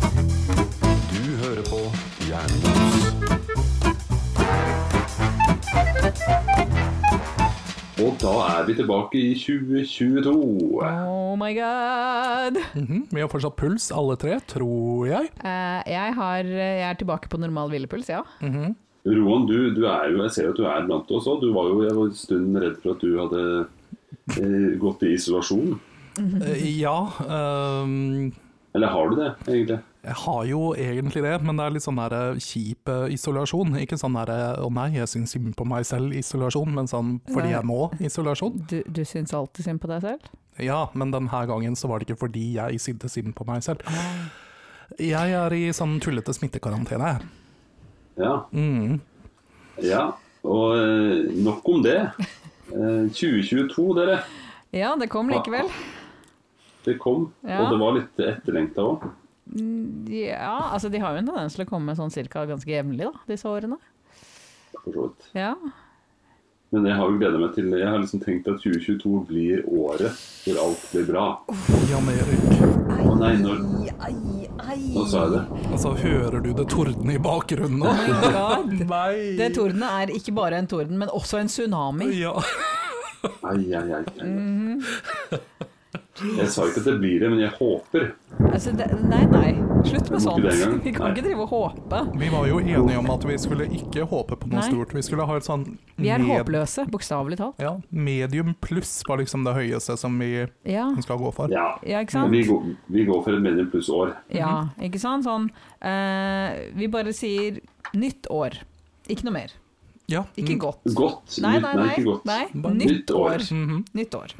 Du hører på Jernbos. Og da er vi tilbake i 2022. Oh my god. Mhm, Vi har fortsatt puls, alle tre, tror jeg. Eh, jeg, har, jeg er tilbake på normal hvilepuls, ja. Roan, du, du er jo, jeg ser jo at du er blant oss òg. Du var jo jeg var en stund redd for at du hadde eh, gått i isolasjon. Eh, Ja, ehm, Eller har du det, egentlig? jeg har jo egentlig det, men det er litt sånn der eh, kjip eh, isolasjon. Ikke sånn der eh, 'å nei, jeg syns synd på meg selv'-isolasjon, men sånn 'fordi jeg må'-isolasjon. Du, du syns alltid synd på deg selv? Ja, men denne gangen så var det ikke fordi jeg syntes synd på meg selv. Jeg er i sånn tullete smittekarantene. jeg. Ja. ja. Og eh, nok om det. Eh, 2022, dere. Ja, det kom likevel. Det kom. Ja. Og det var litt etterlengta òg. Ja, altså De har jo en tendens til å komme sånn cirka ganske jevnlig, da, disse årene. For så vidt. Ja. Men jeg har jo gleda meg til Jeg har liksom tenkt at 2022 blir året hvor alt blir bra. Jan Erik, Å nei, når, Ai, ai. nå sa jeg det. altså hører du det tordne i bakgrunnen nå? Nei! Det tordenet er ikke bare en torden, men også en tsunami. Ja. Ai, ai, ai. Mhm. Jeg sa ikke at det blir det, men jeg håper. Altså, det, nei, nei. Slutt med Det må ikke det sånt. engang. Vi kan Nei. ikke drive og håpe. Vi var jo enige om at vi skulle ikke håpe på noe Nei. stort. Vi skulle ha et sånn Vi er med- håpløse, bokstavelig talt. Ja, medium pluss var liksom det høyeste som vi Ja. skal gå for. Ja. ja, ikke sant? Vi går, vi går for et medium pluss år. Ja, ikke sant? Sånn, eh, vi bare sier nytt år. Ikke noe mer. Ja. Ikke mm, godt. Godt. Nei, nytt- nei, nei, nei. ikke godt. nei. Bare Nytt nytt år. år. mhm. Nytt år.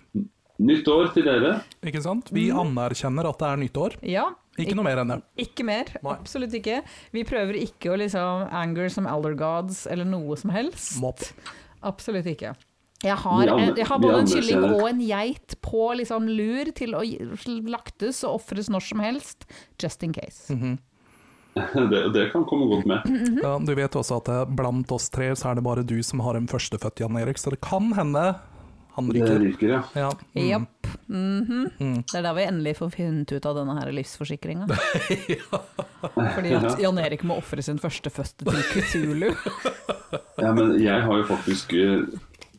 Nytt år til dere. Ikke sant? Vi anerkjenner at det er nyttår. Ja. Ikke Ik- noe mer enn det. Mm. Ikke mer. Nei. Absolutt ikke. Vi prøver ikke å liksom anger som elder gods eller noe som helst. Mopp. Absolutt ikke. Jeg har, Vi aner- jeg har vi både en anerkjenner. kylling og en geit på liksom lur til å gi- laktes og ofres når som helst, just in case. Mhm. Det, det kan komme godt med. Mhm. Ja, du vet også at eh, blant oss tre så er det bare du som har en førstefødt, Jan Erik, så det kan hende han Det ryker. ryker, ja. Ja. Japp. Mhm. Det er da vi endelig får funnet ut av denne her livsforsikringa. Fordi at Jan Erik må ofre sin førstefødte til Kutulu. ja. Men jeg har jo faktisk eh,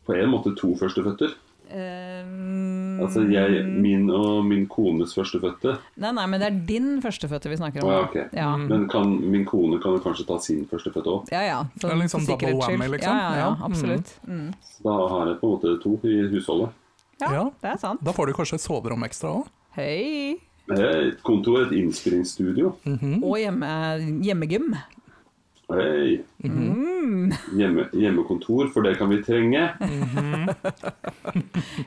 på en måte to førsteføtter. Ehm, Altså jeg, Mm. min og min kones førstefødte. nei, nei, men det er din førstefødte vi snakker Å, om. ja, nå. ok. ja. Men kan, min kone kan jo kanskje ta sin førstefødte òg. ja, ja. Det er litt sånn for sikkerhets double whammy, skyld. liksom. Ja, ja, ja Ja. absolutt. Mm. Da har jeg på en måte to i husholdet. Ja, Mm, Ja. det er sant. Da får du kanskje et soverom ekstra òg. Hei. Eh, Et kontor, et innspillingsstudio. Mm. Og hjemme, hjemmegym. Hei. Mm. Hjemme, hjemmekontor, for det kan vi trenge.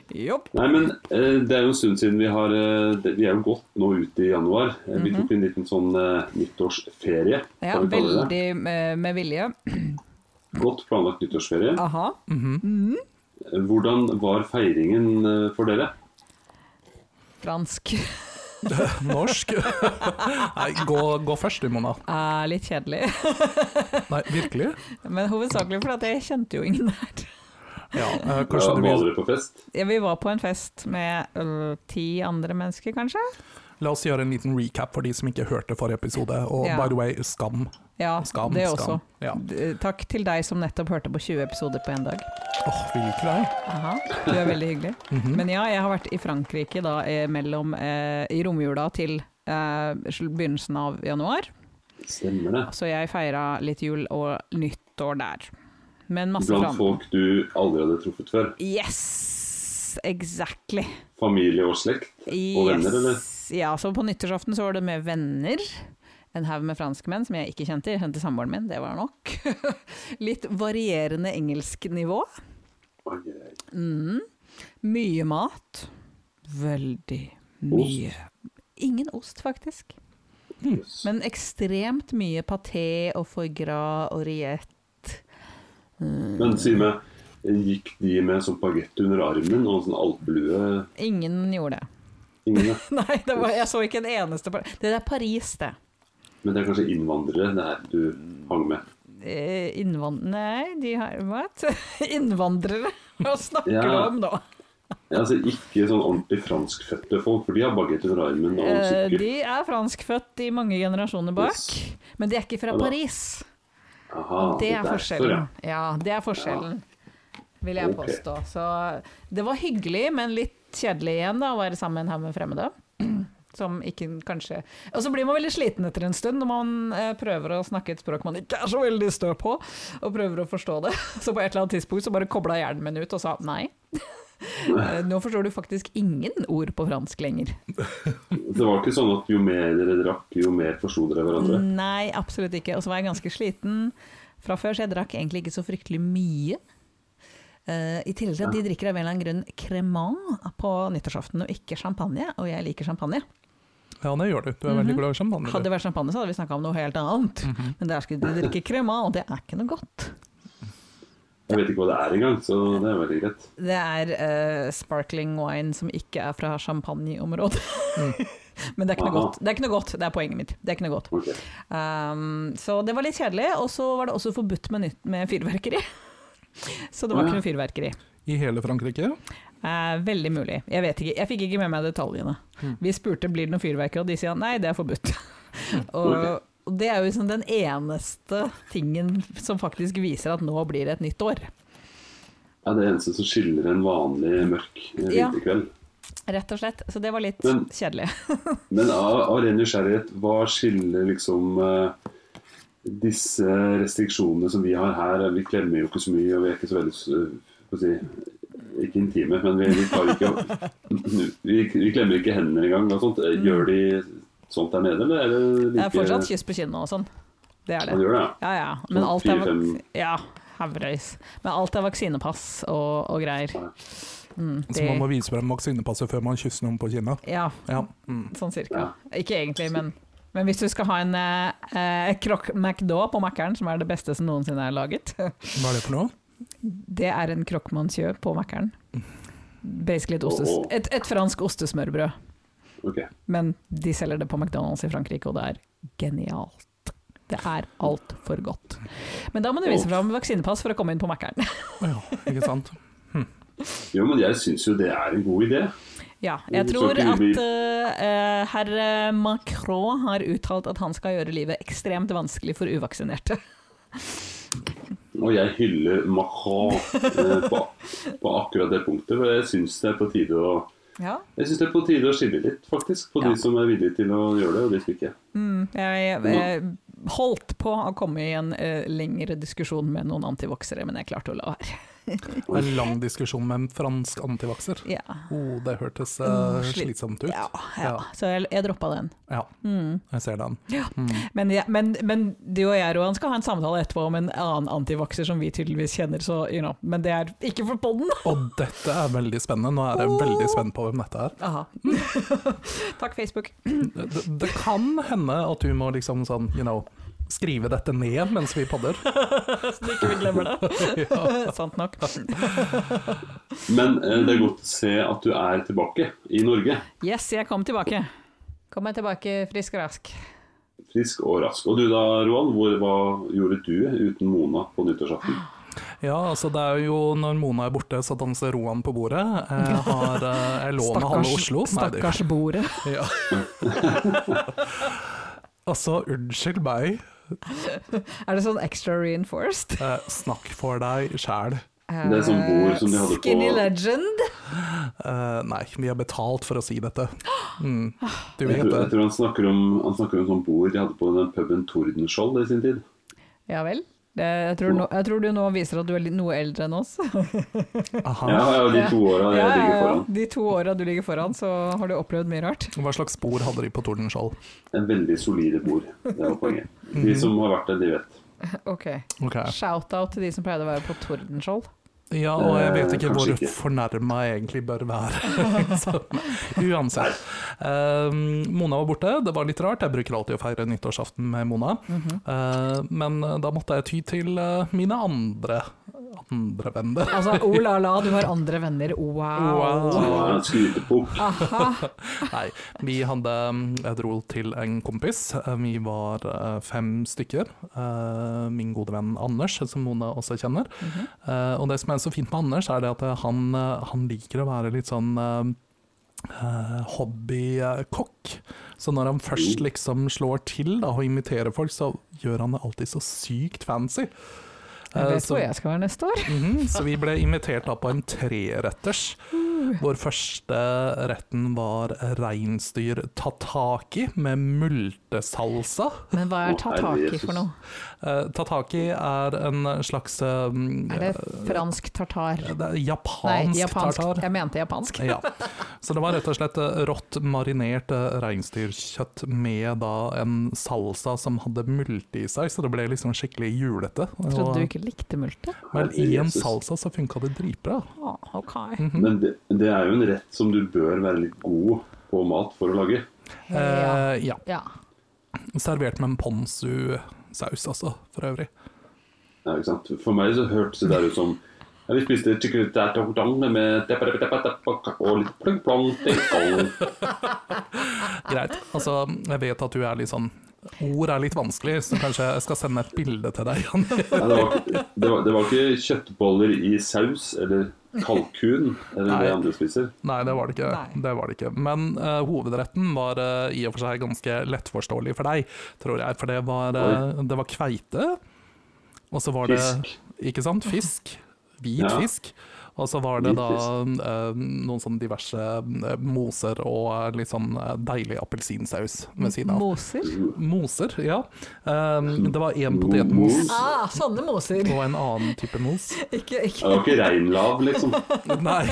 Jopp. Nei, men eh, det er jo en stund siden vi har eh, det- Vi er jo godt nå ute i januar. Eh, Vi tok en liten sånn eh, nyttårsferie. Mhm. Ja, kan vi kalle det. veldig eh, med, med vilje. Godt planlagt nyttårsferie. Aha. Eh, Hvordan var feiringen eh, for dere? Fransk. Norsk. Nei, gå, gå først du, Mona. Er litt kjedelig. Nei, virkelig? Men hovedsakelig fordi at jeg kjente jo ingen der. Ja, eh, kanskje Ja, du var vil dere på fest? Ja, vi var på en fest med øh, ti andre mennesker, kanskje? La oss gjøre en liten recap for de som ikke hørte forrige episode. Og Ja. by the way, skam. Ja, Skam, det skam. også. Ja. D- Takk til deg som nettopp hørte på 20 episoder på én dag. Åh, vi liker deg. Aha, du er veldig hyggelig. Men ja, jeg har vært i Frankrike da, eh, mellom, eh, i romjula til eh, sl- begynnelsen av januar, Stemmer det. så jeg feira litt jul og nyttår der. Men masse Blant fram... folk du aldri hadde truffet før? Yes! Exactly. Familie og slekt? Og venner, eller? Yes. Ja, så på nyttårsaften så var det med venner. En haug med franskmenn som jeg ikke kjente. Jeg kjente samboeren min, det var nok. Litt varierende engelsknivå. Oi, oi, oi. Mye mat. Veldig mye. Ingen ost, faktisk. Men ekstremt mye paté og foie gras og riett. Men si meg, gikk de med sånn bagett under armen og en sånn alpelue? Ingen gjorde det. Ingen, ja. Nei, det var, jeg så ikke en eneste par- Det er Paris, det. Men det er kanskje innvandrere det her du hang med? Eh, innvand... Nei, de har What? Innvandrere? Hva snakker Ja. du om da? Ja, altså Ikke sånn ordentlig franskfødte folk, for de har bagetter fra armen. og Eh, sykkel. De er franskfødt i mange generasjoner bak, Yes. men de er ikke fra Ja da. Paris. Aha, Det er derfor, forskjellen. Ah, ja. Ja, det er forskjellen, vil jeg Ok. påstå. Så det var hyggelig, men litt kjedelig igjen da, å være sammen her med fremmede. Som ikke kanskje Og så blir man veldig sliten etter en stund når man eh, prøver å snakke et språk man ikke er så veldig stø på, og prøver å forstå det. Så på et eller annet tidspunkt så bare kobla hjernen min ut og sa nei. Eh, Nå forstår du faktisk ingen ord på fransk lenger. Det var ikke sånn at jo mer dere drakk, jo mer forsto dere Mm. hverandre? Nei, absolutt ikke. Og så var jeg ganske sliten fra før, så jeg drakk egentlig ikke så fryktelig mye. Eh, I tillegg til at de drikker av en eller annen grunn cremant på nyttårsaften, og ikke champagne. Og jeg liker champagne. Ja, det gjør du. Du er veldig glad i champagne. Mhm. Hadde du. det vært champagne, så hadde vi snakka om noe helt annet. Mhm. Men der skulle de drikke cremant, og det er ikke noe godt. Jeg vet ikke hva det er engang, så det er veldig greit. Det er eh, sparkling wine som ikke er fra champagneområdet. Men det er ikke noe Mm. Aha. godt. Det er ikke noe godt, det er poenget mitt. Det er ikke noe godt. Ok. Um, så det var litt kjedelig, og så var det også forbudt med, nytt, med fyrverkeri. Så det var Å, ja. ikke noe fyrverkeri. I hele Frankrike? Eh, veldig mulig. Jeg vet ikke, jeg fikk ikke med meg detaljene. Hmm. Vi spurte blir det noe fyrverkeri, og de sier nei, det er forbudt. Hmm. og, Ok. og det er jo liksom den eneste tingen som faktisk viser at nå blir det et nytt år. Ja, det eneste som skiller en vanlig mørk eh, Ja. vinterkveld. Rett og slett. Så det var litt Men- kjedelig. Men av, av ren nysgjerrighet, hva skiller liksom eh, disse restriksjonene som vi har her? Vi klemmer jo ikke så mye, og vi er ikke så veldig eh, hva skal jeg si, ikke intime, men vi, vi, tar ikke, vi, vi klemmer ikke hendene engang. og sånt. Eh, Gjør de sånt der nede, eller er det Det like er fortsatt kyss på kinnet og sånn. Det er Man det. gjør det, ja. Ja ja. Men Sånn alt er, fire-fem- vak- ja, havrøys. Men alt er vaksinepass og, og greier. Mm, Så Altså, man det- må vise frem vaksinepasset før man kysser noen på kinnet? Ja, Ja. Mm. sånn cirka. Ikke egentlig, men, men hvis du skal ha en eh, croque McDo på Mækkern, som er det beste som noensinne er laget Hva er det for noe? Det er en croque monsieur på Mækkern. Basically et, ostes, Åh. et, et fransk ostesmørbrød. Ok. Men de selger det på McDonald's i Frankrike, og det er genialt. Det er altfor godt. Men da må du vise Åh. fram vaksinepass for å komme inn på Mækkern. Ja, ikke sant? Jo, men jeg syns jo det er en god idé. Ja, jeg Så tror kunne at vi- eh, herr eh, Macron har uttalt at han skal gjøre livet ekstremt vanskelig for uvaksinerte. Og jeg hyller Macron eh, på, på akkurat det punktet, for jeg syns det er på tide å Ja. Jeg syns det er på tide å skille litt, faktisk. På Ja. de som er villige til å gjøre det, og de som ikke. Jeg, jeg holdt på å komme i en eh, lengre diskusjon med noen antivoksere, men jeg klarte å la være. Det er en lang diskusjon med en fransk antivakser. Ja. Oh, det hørtes eh, slit- slitsomt ut. Ja, Mm. ja. Ja. Så jeg, jeg droppa den. Ja, jeg ser den. Men, jeg, men, men du og jeg, Roan, skal ha en samtale etterpå om en annen antivokser som vi tydeligvis kjenner, så you know. Men det er ikke for podden! Og dette er veldig spennende. Nå er jeg veldig spent på hvem dette er. Aha. Takk, Facebook. Det, det kan hende at du må liksom sånn, you know, skrive dette ned mens vi podder. Så ikke vi glemmer det. Sant nok. Men eh, det er godt å se at du er tilbake i Norge. Yes, jeg kom tilbake. Kom meg tilbake frisk og rask. Frisk og rask. Og du da, Roald, hvor, hva gjorde du uten Mona på nyttårsaften? Ja, altså det er jo når Mona er borte, så danser Roan på bordet. Jeg, har, eh, jeg lå med halve Oslo. Nei, det er jo- stakkars bordet. Ja. altså, unnskyld meg. Er det sånn extra reinforced? Eh, snakk for deg sjæl. Det er sånn bord som de hadde på- Ah, Skinny legend. Eh, nei, vi er betalt for å si dette. Mm. Du Jeg vet tror, jeg det. tror han snakker om, han snakker om sånn bord de hadde på den puben Tordenskjold i sin tid. Ja vel. Det, jeg, tror nå- jeg tror du nå viser at du er litt noe eldre enn oss. Ja, Aha. ja, de to åra jeg Ah. Ja, ja, ligger ja. foran. De to åra du ligger foran, så har du opplevd mye rart. Hva slags spor hadde de på Tordenskjold? En veldig solide bord. Det var poenget. Mhm. De som har vært der, de vet. Ok. Ok. Shout-out til de som pleide å være på Tordenskjold. Ja, og jeg vet Eh, ikke kanskje hvor ikke. fornærma jeg egentlig bør være. Så, Uansett. Um, Mona var borte, det var litt rart. Jeg bruker alltid å feire nyttårsaften med Mona. Mhm. Eh, men da måtte jeg ty til eh, mine andre, andre venner. Altså, oh la la, du har andre venner. Wow. Så det var en skrytepukk. Nei, vi hadde Jeg dro til en kompis. Eh, Vi var eh, Mhm. fem stykker. Eh, Min gode venn Anders, som Mona også kjenner. Eh, Og det som er er så fint med Anders, er det at han, eh, han liker å være litt sånn eh, hobbykokk. Så når han først Mm. liksom slår til da, og inviterer folk, så gjør han det alltid så sykt fancy. Eh, Det så- tror jeg skal være neste år. Mhm, så vi ble invitert da på en treretters. Uh. Vår første retten var reinsdyr tataki med multesalsa. Men hva er Å, herre tataki Jesus. for noe? Eh, tataki er en slags eh, Er det fransk tartar? det er Nei, japansk, japansk. tartar. Jeg mente japansk. Ja. Så det var rett og slett eh, rått marinert eh, reinsdyrkjøtt med da en salsa som hadde multe i seg, så det ble liksom skikkelig julete. Jeg Og- trodde du ikke likte multe. Men i en Jesus. salsa så funka det dritbra. Å, Ah, ok. Men det, det er jo en rett som du bør være litt god på mat for å lage. Ja. Eh, ja. ja. Servert med en ponzu-saus, altså, for øvrig. Ja, ikke sant? For meg så hørtes det der ut som ja, Vi spiste chikutærtong med teppa, teppa, teppa, teppa, og litt plong, plong, ting, Greit. Altså, jeg vet at du er litt sånn Ord er litt vanskelig, så kanskje jeg skal sende et bilde til deg. Jan. Ja, det, var, det, var, det var ikke kjøttboller i saus eller kalkun eller Nei. det andre spiser. Nei, det var det ikke. Nei. Det var det ikke. Men eh, hovedretten var eh, i og for seg ganske lettforståelig for deg, tror jeg. For det var, eh, det var kveite, og så var det Fisk. Ikke sant? Fisk. Hvit Ja. fisk. Og så var det Hvit da eh, noen sånne diverse eh, moser og eh, litt sånn eh, deilig appelsinsaus ved siden av. Moser? Moser, ja. Eh, Mm. det var én Mo- potetmos mos? Ah, sånne Mm. moser. og en annen type mos. Ikke, Det ikke. var ikke reinlav, liksom. Nei.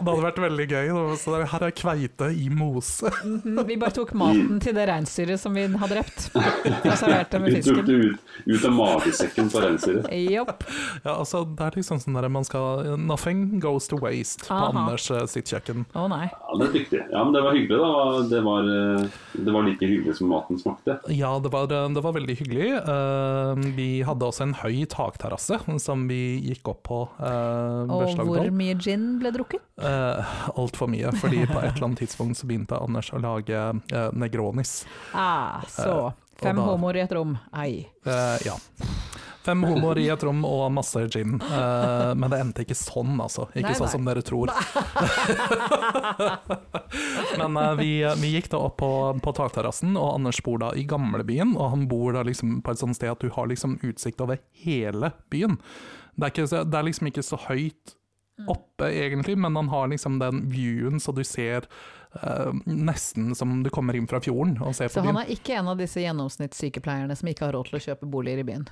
Det hadde vært veldig gøy. da, Så det her er kveite i mose. Mm, Vi bare tok maten til det reinsdyret som vi har drept, og serverte med Vi tok det fisken. ut, ut av magesekken på reinsdyret. Jopp. Ja, altså, det er liksom sånn der man skal Nothing goes to waste på Aha. Anders eh, sitt kjøkken. Å nei. Ja, det er dyktig. Ja, men det var hyggelig, da. Det var, eh, det var like hyggelig som maten smakte. Ja, det var, det var veldig hyggelig. Eh, Vi hadde også en høy takterrasse som vi gikk opp på. eh, ved Og hvor Slagdal. mye gin ble drukket? Eh, Altfor mye, fordi på et eller annet tidspunkt så begynte Anders å lage eh, Negronis. Ah, så. Fem da- homoer i et rom. Ei. Eh, ja. Fem homoer i et rom og masse gin. Eh, men det endte ikke sånn, altså. Ikke Nei, sånn nei. som dere tror. men eh, vi, vi gikk da opp på, på takterrassen, og Anders bor da i gamlebyen. Og han bor da liksom på et sånt sted at du har liksom utsikt over hele byen. Det er, ikke, så- det er liksom ikke så høyt Mm. oppe, egentlig, men han har liksom den viewen så du ser eh, nesten som du kommer inn fra fjorden og ser Så på byen. han er ikke en av disse gjennomsnittssykepleierne som ikke har råd til å kjøpe boliger i byen.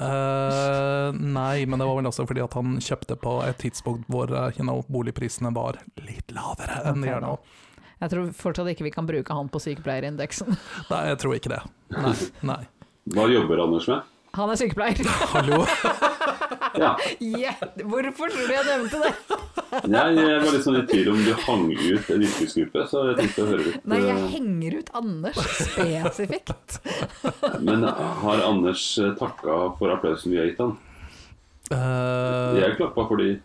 Eh, nei, men det var vel også fordi at han kjøpte på et tidspunkt hvor eh, you know, boligprisene var litt lavere enn de Ok, er nå. Jeg tror fortsatt ikke vi kan bruke han på sykepleierindeksen. Nei, jeg tror ikke det. Nei, nei. Hva jobber Anders med? Han er sykepleier! Hallo. Ja, Yeah. Hvorfor tror du jeg nevnte det? jeg, jeg var litt sånn i tvil om du hang ut en yrkesgruppe, så jeg tenkte å høre litt. Nei, jeg eh, henger ut Anders spesifikt. eh, Men har Anders eh, takka for applausen vi har gitt han? Eh, Jeg klappa fordi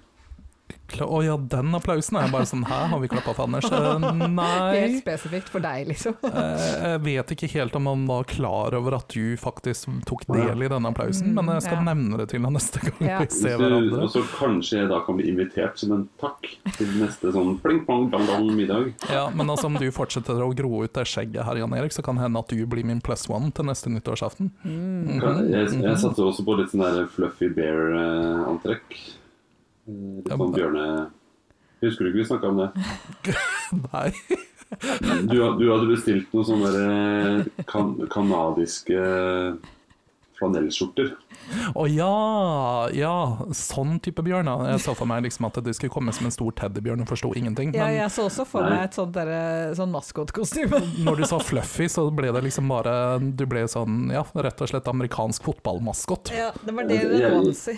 kla- Å ja, den applausen er bare sånn Hæ, har vi klappa for Anders? Eh, Helt nei. spesifikt for deg, liksom. Eh, jeg vet ikke helt om han var klar over at du faktisk tok del i denne applausen, men jeg skal Mm, ja. nevne det til han neste gang Ja. vi Hvis ser du- hverandre. Og så kanskje jeg da kan bli invitert som en takk til neste sånn pling plong dang dang middag. Ja, men altså, om du fortsetter å gro ut det skjegget her, Jan Erik, så kan det hende at du blir min plus one til neste nyttårsaften. Mhm. Kan- Jeg, jeg satte også på litt sånn der fluffy bear-antrekk. Litt Ja, sånn men- bjørne... Husker du ikke vi snakka om det? Nei. Du, ha- du hadde bestilt noen sånne der, eh, kan, kanadiske eh, flanellskjorter. Å ja, ja, sånn type bjørn. ja. Jeg så for meg liksom at det skulle komme som en stor teddybjørn og forsto ingenting. Ja, Men jeg så også for meg et sånt derre- sånn maskotkostyme. når du sa fluffy, så ble det liksom bare Du ble sånn, ja, rett og slett amerikansk fotballmaskot. Ja, det var det det var å si.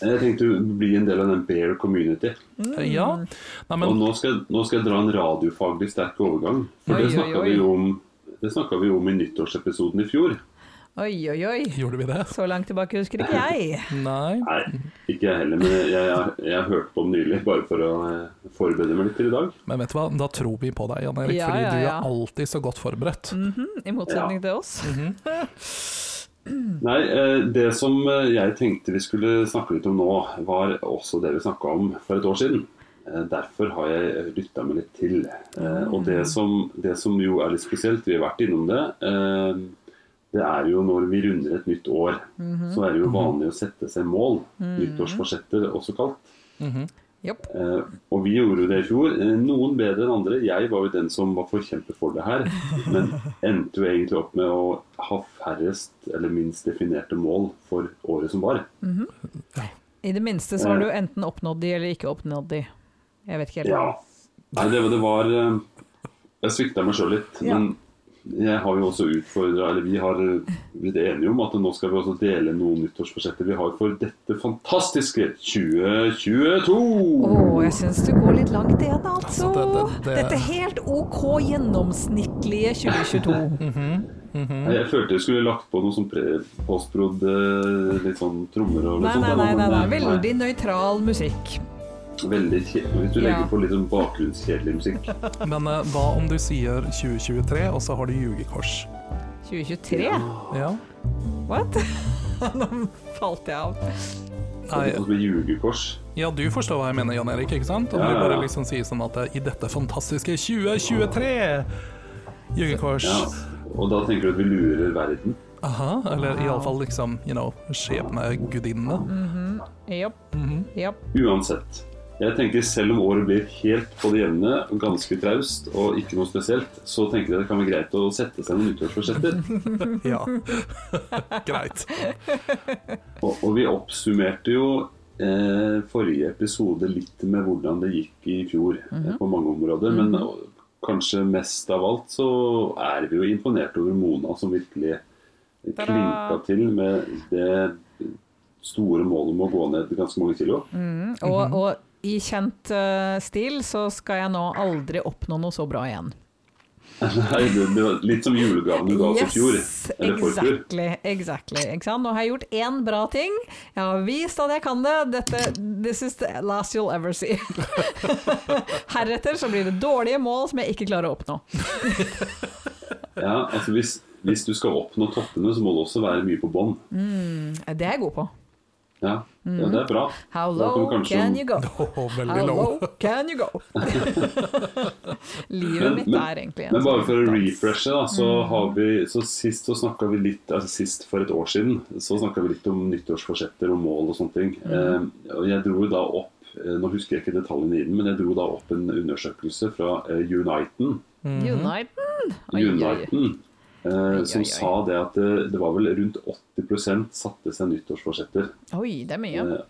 Jeg tenkte å bli en del av den bear community. Eh, Ja. Nei, Og men nå skal, nå skal jeg dra en radiofaglig sterk overgang. For det Oi, oi, snakka oi. vi jo om det snakket vi jo om i nyttårsepisoden i fjor. Oi, oi, oi. gjorde vi det? Så langt tilbake husker ikke jeg. Nei. Nei, ikke jeg heller, men jeg, jeg, jeg hørte på den nylig bare for å eh, forberede meg litt til i dag. Men vet du hva, da tror vi på deg, Jan Erik, Ja, fordi ja, Mm. du ja. er alltid så godt forberedt. I motsetning til oss. Nei, eh, det som eh, jeg tenkte vi skulle snakke litt om nå, var også det vi snakka om for et år siden. Eh, Derfor har jeg lytta meg litt til. Eh, Og det som, det som jo er litt spesielt, vi har vært innom det, eh, det er jo når vi runder et nytt år, så er det jo vanlig å sette seg mål. Nyttårsforsetter, også kalt. Jopp. Eh, og vi gjorde jo det i fjor. eh, Noen bedre enn andre. Jeg var jo den som var forkjemper for det her. Men endte jo egentlig opp med å ha færrest eller minst definerte mål for året som var. I det minste så har du enten oppnådd de eller ikke oppnådd de. Jeg vet ikke helt. Ja. Nei, det, var- det var eh, Jeg svikta meg sjøl litt. Ja. Men jeg har jo også utfordra Eller vi har eh, blitt enige om at nå skal vi også dele noen nyttårsforsetter vi har for dette fantastiske 2022. Å, jeg syns du går litt langt igjen, altså. Altså, det- det- det- Dette helt OK gjennomsnittlige 2022. Mm. Nei, Jeg følte jeg skulle lagt på noe sånn pre- postprod, eh, litt sånn trommer og Nei, litt sånt. nei, da, nei. nei, men, nei. eh, Veldig nøytral musikk. nei, veldig kjedelig. Hvis du Ja. legger på litt sånn bakgrunnskjedelig musikk. Men eh, hva om du sier 2023, og så har du ljugekors? 2023? Ja. What? Nå falt jeg av. Nei, Og så blir sånn jugekors. ja, du forstår hva jeg mener, Jan Erik, ikke sant? Og Ja, du ja, bare ja. liksom sier sånn at eh, i dette fantastiske 2023 Ljugekors. Ja. Og da tenker du at vi lurer verden. Aha, eller iallfall liksom, you know, skjebnegudinnene. Jopp. Jopp. Uansett. Jeg tenker selv om året blir helt på det jevne, ganske traust og ikke noe spesielt, så tenker jeg det kan være greit å sette seg noen nyttårsforsetter. Ja. Greit. Og, og vi oppsummerte jo eh, forrige episode litt med hvordan det gikk i fjor eh, Mhm. på mange områder. Men eh, kanskje mest av alt så er vi jo imponert over Mona som virkelig Ta-da! klinka til med det store målet om å gå ned ganske mange kilo. Mhm. Og, og i kjent eh, stil så skal jeg nå aldri oppnå noe så bra igjen. Nei, det, det var litt som julegaven du ga oss i fjor. Eller forfjor. exactly, exactly. Ikke sant? Nå har jeg gjort én bra ting. Jeg har vist at jeg kan det. Dette, this is the last you'll ever see. Heretter så blir det dårlige mål som jeg ikke klarer å oppnå. Ja, altså hvis, hvis du skal oppnå toppene, så må det også være mye på bånn. Det er jeg god på. Ja. ja, det er bra. Mhm. How Da kan vi low kanskje- can you go? Åh, veldig How low. low can you go? Livet mitt er egentlig en sånn Mm. men bare for å dans. refreshe, da, så har vi så Sist så snakket vi litt altså Sist for et år siden så snakka vi litt om nyttårsforsetter og mål og sånne ting. Mm. Eh, og jeg dro da opp eh, Nå husker jeg ikke detaljene i den, men jeg dro da opp en undersøkelse fra eh, Uniten. Uniten? Oi, oi, oi. Uniten eh, oi. som sa det at det, det var vel rundt 80 satte seg nyttårsforsetter. Oi, det er mye. Eh,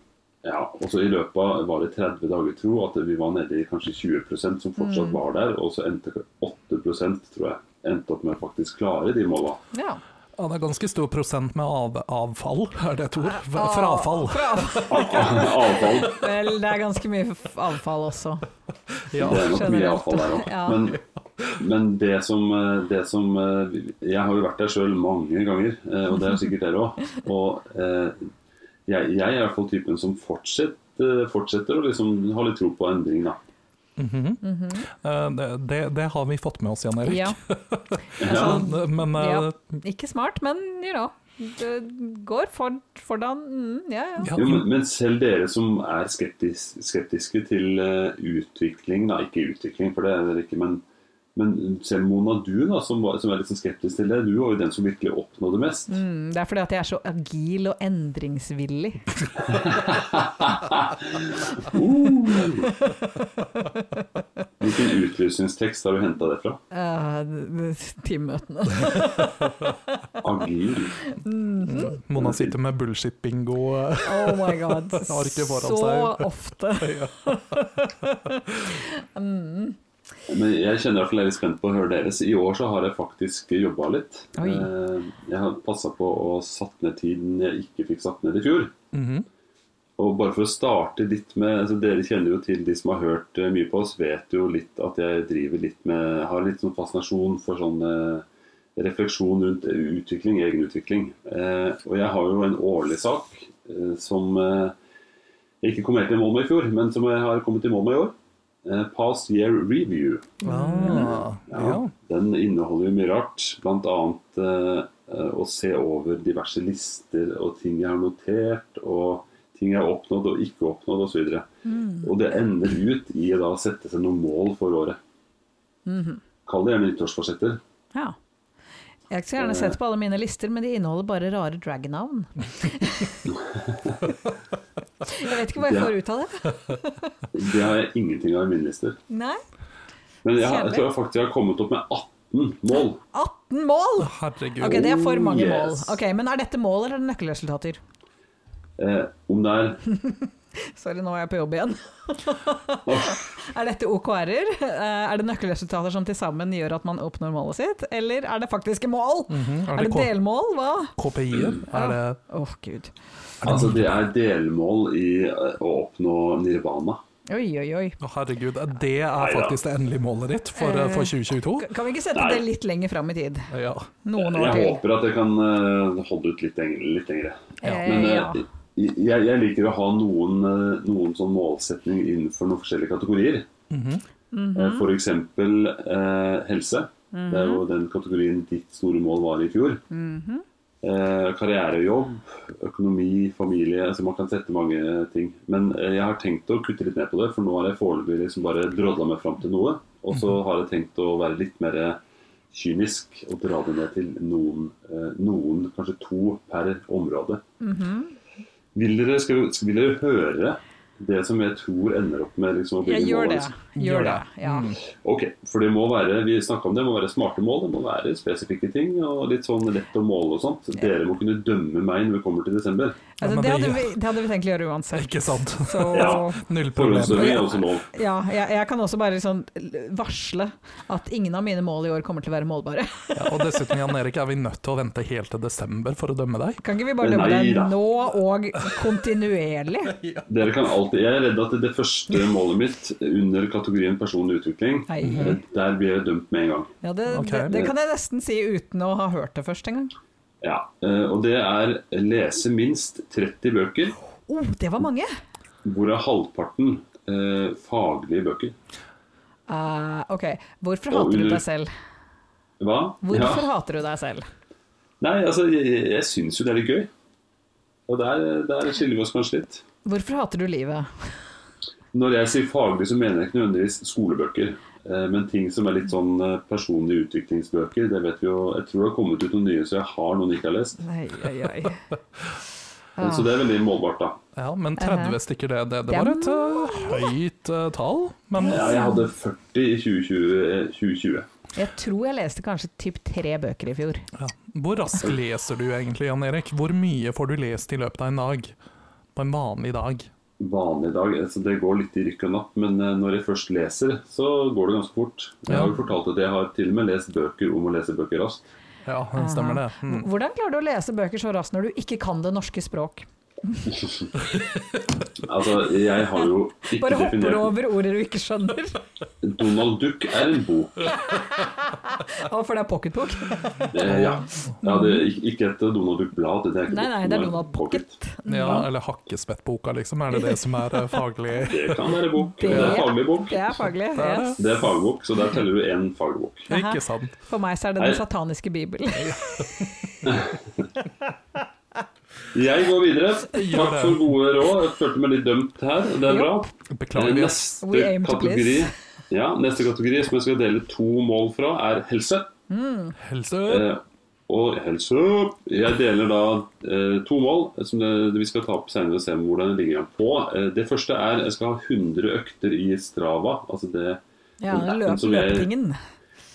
Ja, og så I løpet av var det 30 dager, tro, at vi var nede i kanskje 20 som fortsatt Mm. var der. Og så endte 8 tror jeg, endte opp med å faktisk klare de måla. Ja. Ja, det er ganske stor prosent med av, avfall, er det et ord? Ah. Fra- Frafall. Avfall. Vel, det er ganske mye f- avfall også. Ja. Det er nok mye Generelt. avfall der òg. Ja. Men, men det som, eh, det som eh, Jeg har jo vært der sjøl mange ganger, eh, og det er sikkert dere òg. Og eh, jeg, jeg er i hvert fall typen som fortsetter, fortsetter å liksom ha litt tro på endring, da. Eh, det- Det, det har vi fått med oss, Jan Erik. Ja. Ja. Men, men, eh, Ja. Ikke smart, men you know. Det går for, foran mm, Ja, ja. ja, Jo, men, men selv dere som er skeptis, skeptiske til eh, utvikling, da, ikke utvikling, for det er dere ikke, men, men selv Mona, du da, som, var, som er litt sånn skeptisk til det, du var jo den som virkelig oppnådde mest. Mm, Det er fordi at jeg er så agil og endringsvillig. Uh! Hvilken utlysningstekst har du henta det fra? Eh, d- d- Teammøtene. Agil. Mona sitter med bullshit-bingo. eh, Oh my god. Arket foran Så seg. ofte. Men jeg kjenner i hvert fall jeg er litt spent på å høre deres. I år så har jeg faktisk jobba litt. Oi. Eh, Jeg har passa på å satt ned tiden jeg ikke fikk satt ned i fjor. mhm. Og bare for å starte litt med, altså Dere kjenner jo til de som har hørt eh, mye på oss, vet jo litt at jeg driver litt med, har litt sånn fascinasjon for sånn eh, refleksjon rundt utvikling, egenutvikling. Eh, og jeg har jo en årlig sak eh, som eh, jeg ikke kom helt i mål med i fjor, men som jeg har kommet i mål med i år. Eh, past Year Review. ah, ja. Den inneholder jo mye rart, bl.a. Eh, eh, og se over diverse lister og ting jeg har notert, og ting jeg har oppnådd og ikke oppnådd osv. videre Og det ender ut i da å sette seg noen mål for året. Kall det gjerne nyttårsforsetter. Ja. Jeg skulle gjerne sett på alle mine lister, men de inneholder bare rare dragnavn. jeg vet ikke hva jeg Ja. får ut av det. Det har jeg ingenting av i min liste. Nei. Men jeg, har- Kjedelig. jeg tror jeg faktisk jeg har kommet opp med 18 mål. 18 mål! Herregud. Ok, det er for mange mål. Yes. Ok, Men er dette mål eller nøkkelresultater? Eh, om det er Sorry, nå er jeg på jobb igjen. er dette OKR-er? Eh, Er det nøkkelresultater som til sammen gjør at man oppnår målet sitt, eller er det faktiske mål? Mhm, er Er det det K- delmål? Hva? KPI-er? Er det Åh, gud. Altså, det er delmål i eh, å oppnå nirvana. Oi, oi, oi. Å, herregud, det er Neida. faktisk det endelige målet ditt for, Eh, for 2022. Kan vi ikke sette Nei. det litt lenger fram i tid? Ja. Noen år Jeg til. håper at jeg kan eh, holde ut litt lenger. Litt lengre. Ja. Men eh, Ja. jeg, jeg liker å ha noen, eh, noen sånn målsetning innenfor noen forskjellige kategorier. Eh, For eksempel eh, helse. Det er jo den kategorien ditt store mål var i fjor. Eh, karriere og jobb, økonomi, familie. Altså man kan sette mange ting. Men eh, jeg har tenkt å kutte litt ned på det, for nå har jeg foreløpig liksom bare drodla meg fram til noe. Og Mhm. så har jeg tenkt å være litt mer eh, kynisk og dra det ned til noen, eh, noen kanskje to per område. Mhm. Vil dere, skal, vi- vil dere høre det som jeg tror ender opp med liksom, å bli Jeg mål, gjør det. liksom? Gjør det. Ja. Ok, for det må være, vi snakket om det, det må være smarte mål, det må være spesifikke ting og litt sånn lett å måle og sånt. Dere må kunne dømme meg når vi kommer til desember. Ja, Altså, men det, det- hadde vi, det hadde vi tenkt å gjøre uansett. Ikke sant? Så Ja. Null problem. Forhåndsdømming er også lov. ja, jeg, jeg kan også bare sånn varsle at ingen av mine mål i år kommer til å være målbare. Ja, og dessuten, Jan Erik, er vi nødt til å vente helt til desember for å dømme deg? Kan ikke vi bare dømme Nei deg da. nå og kontinuerlig? Dere kan alltid, jeg er redd at det første målet mitt under kategorien personlig utvikling, eh, Nei. der blir jeg dømt med en gang. Ja, det, Mhm. Ok. det, det kan jeg nesten si uten å ha hørt det først engang. Ja, eh, og det er lese minst 30 bøker, Å, oh, det var mange! hvorav halvparten eh, faglige bøker. Eh, ok, Og hvorfor hater du under- deg selv? Hva? Hvorfor hater du deg selv? Nei, altså, jeg, jeg- jeg synes jo det er litt gøy. Og der, der skiller vi oss kanskje litt. Hvorfor hater du livet? Når jeg sier faglig, så mener jeg ikke nødvendigvis skolebøker. eh, Men ting som er litt sånn eh, personlige utviklingsbøker, det vet vi jo Jeg tror det har kommet ut noen nye, så jeg har noen jeg ikke har lest. Oi, oi, oi. Men- Så det er veldig målbart, da. Ja, men 30 stykker, det, det, det Det er var et eh, høyt eh, tall. Men Ja, jeg hadde 40 i 2020. eh, 2020. Jeg tror jeg leste kanskje typ tre bøker i fjor. ja. hvor raskt leser du egentlig, Jan Erik? Hvor mye får du lest i løpet av en dag? På en vanlig dag? Vanlig dag. eh, Så det går litt i rykk og napp. Men eh, når jeg først leser, så går det ganske fort. Jeg har jo fortalt at jeg har til og med lest bøker om å lese bøker raskt. Ja, stemmer det. Mm. Hvordan klarer du å lese bøker så raskt når du ikke kan det norske språk? Altså, jeg har jo ikke Bare hopper definert over ordet du ikke skjønner. Donald Duck er en bok. Å, for det er pocketbok? Eh, ja. ja det, ikke- ikke et Donald Duck-blad. Det er ikke Nei, nei, det er Donald Pocket. Ja, eller Hakkespettboka, liksom. Er det det som er eh, faglig? Det kan være bok. Det er faglig bok. Det er faglig. Det er det. Yes. Det er fagbok, så der teller du én fagbok. Ikke sant? For meg så er det Nei. den sataniske bibelen. Jeg går videre. Gjør Takk det. for gode råd. Jeg følte meg litt dømt her. Det er bra. Eh, Beklager, vi ass. We Neste aim to kategori, please. ja, neste kategori som jeg skal dele to mål fra, er helse. Helse. Eh, og helse Jeg deler da eh, to mål som det, vi skal ta opp senere og se hvordan det ligger an på. Eh, det første er jeg skal ha 100 økter i Strava. Altså det Ja, den appen løp, som jeg- løpetingen.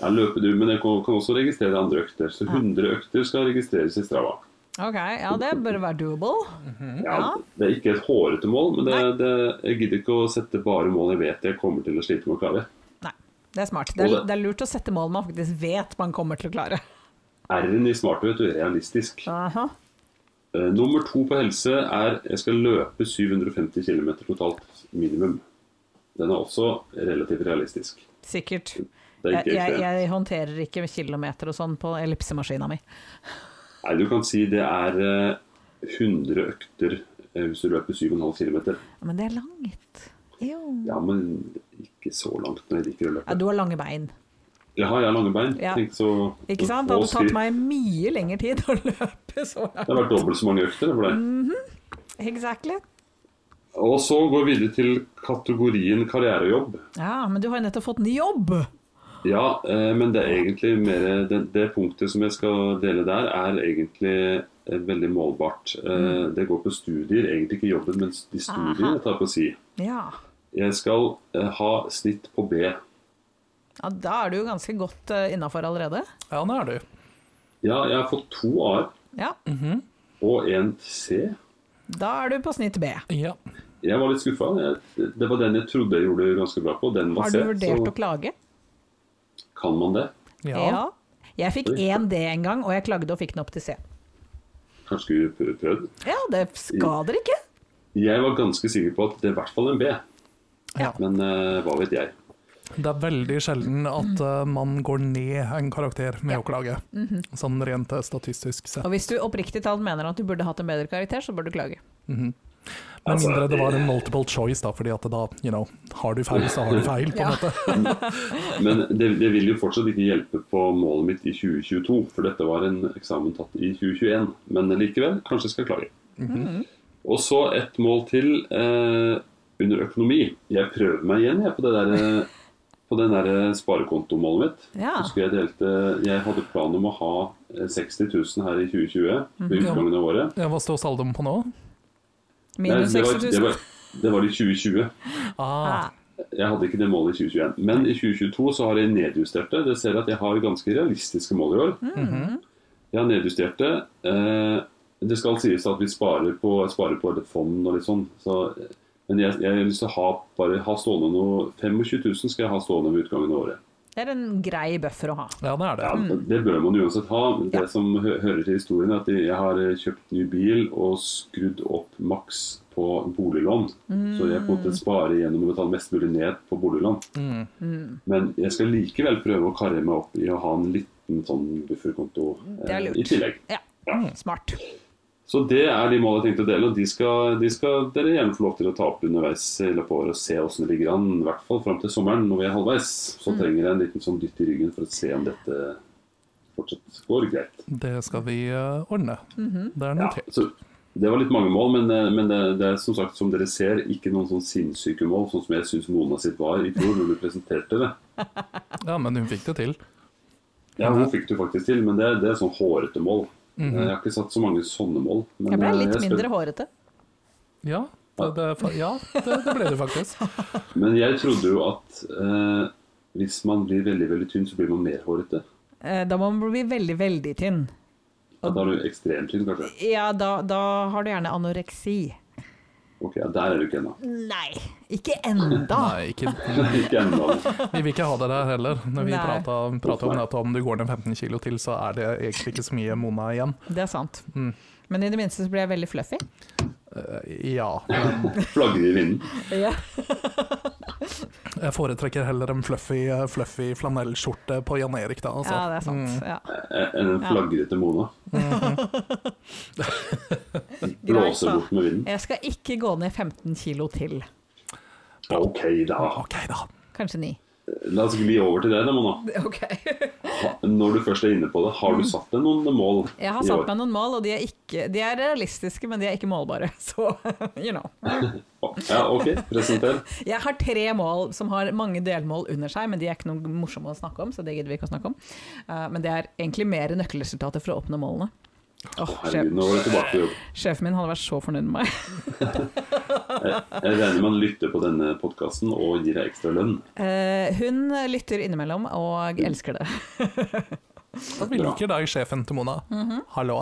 er løpedur, men jeg kan, kan også registrere andre økter. Så 100 økter skal registreres i Strava. Ok, ja det bør være doable. Ja, Mm. Ja. det er ikke et hårete mål, men det, Nei. det, jeg gidder ikke å sette bare mål jeg vet jeg kommer til å slite med å klare. Nei, det er smart. Det er, Og det- det er lurt å sette mål man faktisk vet man kommer til å klare. R-en i smart vet du, er realistisk. Aha. Eh, nummer to på helse er jeg skal løpe 750 km totalt minimum. Den er også relativt realistisk. Sikkert. Det er Jeg, ikke jeg, ekstremt. jeg håndterer ikke kilometer og sånn på ellipsemaskina mi. Nei, du kan si det er eh, 100 økter eh, hvis du løper 7,5 km. Men det er langt. Jo. Ja, men ikke så langt når jeg liker å Ja, løpe. du har lange bein. Jaha, jeg har lange bein. Ja. Tenk så Ikke sant? få Det hadde skritt. tatt meg mye lengre tid å løpe så Det har vært langt. dobbelt så mange økter det, for deg. Mm. Exactly. Og så går vi videre til kategorien karrierejobb. Ja, men du har jo nettopp fått ny jobb. Ja, eh, men det er egentlig mer det, det punktet som jeg skal dele der, er egentlig eh, veldig målbart. Eh, Mm. Det går på studier, egentlig ikke jobben, men de studiene jeg tar på å si. Ja. Jeg skal eh, ha snitt på B. ja da er du jo ganske godt uh, innafor allerede. Ja, det er du. Ja, jeg har fått to A-er Ja. og en C. Da er du på snitt B. Ja. Jeg var litt skuffa. Jeg- Det var den jeg trodde jeg gjorde ganske bra på. Den var Har C. du vurdert å Så klage? kan man det. Ja. Jeg fikk én D en gang, og jeg klagde og fikk den opp til C. Kanskje skulle vi prø- prøvd. Ja, det skader ikke. Jeg var ganske sikker på at det er i hvert fall en B. Ja. Men eh, hva vet jeg. Det er veldig sjelden at eh, man går ned en karakter med å klage, sånn rent eh, statistisk sett. Og hvis du oppriktig talt mener at du burde hatt en bedre karakter, så bør du klage. Med Altså, mindre det var en multiple choice, da, fordi at da, you know, har du feil, så har du feil. på en måte. Men det, det vil jo fortsatt ikke hjelpe på målet mitt i 2022, for dette var en eksamen tatt i 2021. Men likevel, kanskje jeg skal klage. Mhm. Og så et mål til eh, under økonomi. Jeg prøver meg igjen jeg, på, det der, eh, på den der eh, sparekontomålet mitt. Ja. Husker jeg, delte, jeg hadde plan om å ha eh, 60 000 her i 2020 ved Mhm. utgangen av året. Ja, Hva står saldoen på nå? Nei, Minus det, var, 60 det, 000. var, det var i 2020. Ah, Ah, Jeg hadde ikke det målet i 2021, men i 2022 så har jeg nedjustert det. Det ser at jeg har ganske realistiske mål i år. Jeg har nedjustert det. Eh, det skal sies at vi sparer på, jeg sparer på et fond og litt sånn. Så, men jeg, jeg har lyst til å ha, bare ha stående noe 25 000 skal jeg ha stående ved utgangen av året. det er en grei buffer å ha. ja, det er det. Ja, Det bør man uansett ha. Det Mm. Ja. som hø hører til historien, er at jeg har eh, kjøpt ny bil og skrudd opp maks på boliglån. Så jeg på en måte Mm. sparer gjennom å betale mest mulig ned på boliglån. Mm. Men jeg skal likevel prøve å karre meg opp i å ha en liten sånn bufferkonto Det er eh, lurt. i tillegg. Ja, smart. Så det er de målene jeg tenkte å dele, og de skal, de skal dere gjerne få lov til å ta opp underveis i løpet av året og se åssen det ligger an, i hvert fall fram til sommeren når vi er halvveis. Så Mm. trenger jeg en liten sånn dytt i ryggen for å se om dette fortsatt går greit. Det skal vi eh, ordne. Det er Ja, notert. så det var litt mange mål, men, eh, men det, det er som sagt, som dere ser, ikke noen sånn sinnssyke mål, sånn som jeg syns Mona sitt var i fjor når du presenterte det. Ja, men hun fikk det til. Ja, hun fikk du faktisk til, men det, det er sånn hårete mål. Eh, Jeg har ikke satt så mange sånne mål. Men Mhm. Jeg ble eh, litt er mindre spent. hårete. Ja, det, det, fa- ja, det, det ble det faktisk. Men jeg trodde jo at eh, hvis man blir veldig veldig tynn, så blir man mer hårete. Eh, Da må man bli veldig, veldig tynn. Ja, da er du ekstremt tynn, kanskje. Ja, da, da har du gjerne anoreksi. Ok, ja, Der er du ikke ennå. Nei, ikke enda. Nei, ikke, ikke ennå. vi vil ikke ha det der heller. Når vi Nei. prata prata om at om du går ned 15 kilo til, så er det egentlig ikke så mye Mona igjen. Det er sant. Men i det minste så ble jeg veldig fluffy. Eh, Ja, men Flagrer i vinden. Ja. jeg foretrekker heller en fluffy, eh, fluffy flanellskjorte på Jan Erik, da. Altså. det er sant. Ja. eh, Enn en flagrete Mona. Blåser Greit, da. bort med vinden. Jeg skal ikke gå ned 15 kilo til. Ok, da. OK, da. Kanskje 9. La oss gli over til det, da, Mona. Ok. Ha- Når du først er inne på det, har du satt deg noen mål Mm. Jeg har i satt år? meg noen mål, og de er, ikke, de er realistiske, men de er ikke målbare. Så, you know. Ja, ok, presenter. Jeg har tre mål som har mange delmål under seg, men de er ikke noe morsomme å snakke om, så det gidder vi ikke å snakke om. Eh, men det er egentlig mer nøkkelresultater for å oppnå målene. Åh, sjef, Herregud, nå var du tilbake på jobb. sjefen min hadde vært så fornøyd med meg. Jeg regner med han lytter på denne podkasten og gir deg ekstra lønn. Eh, hun lytter innimellom og elsker det. Da vi liker deg, sjefen til Mona. Mhm. Hallo.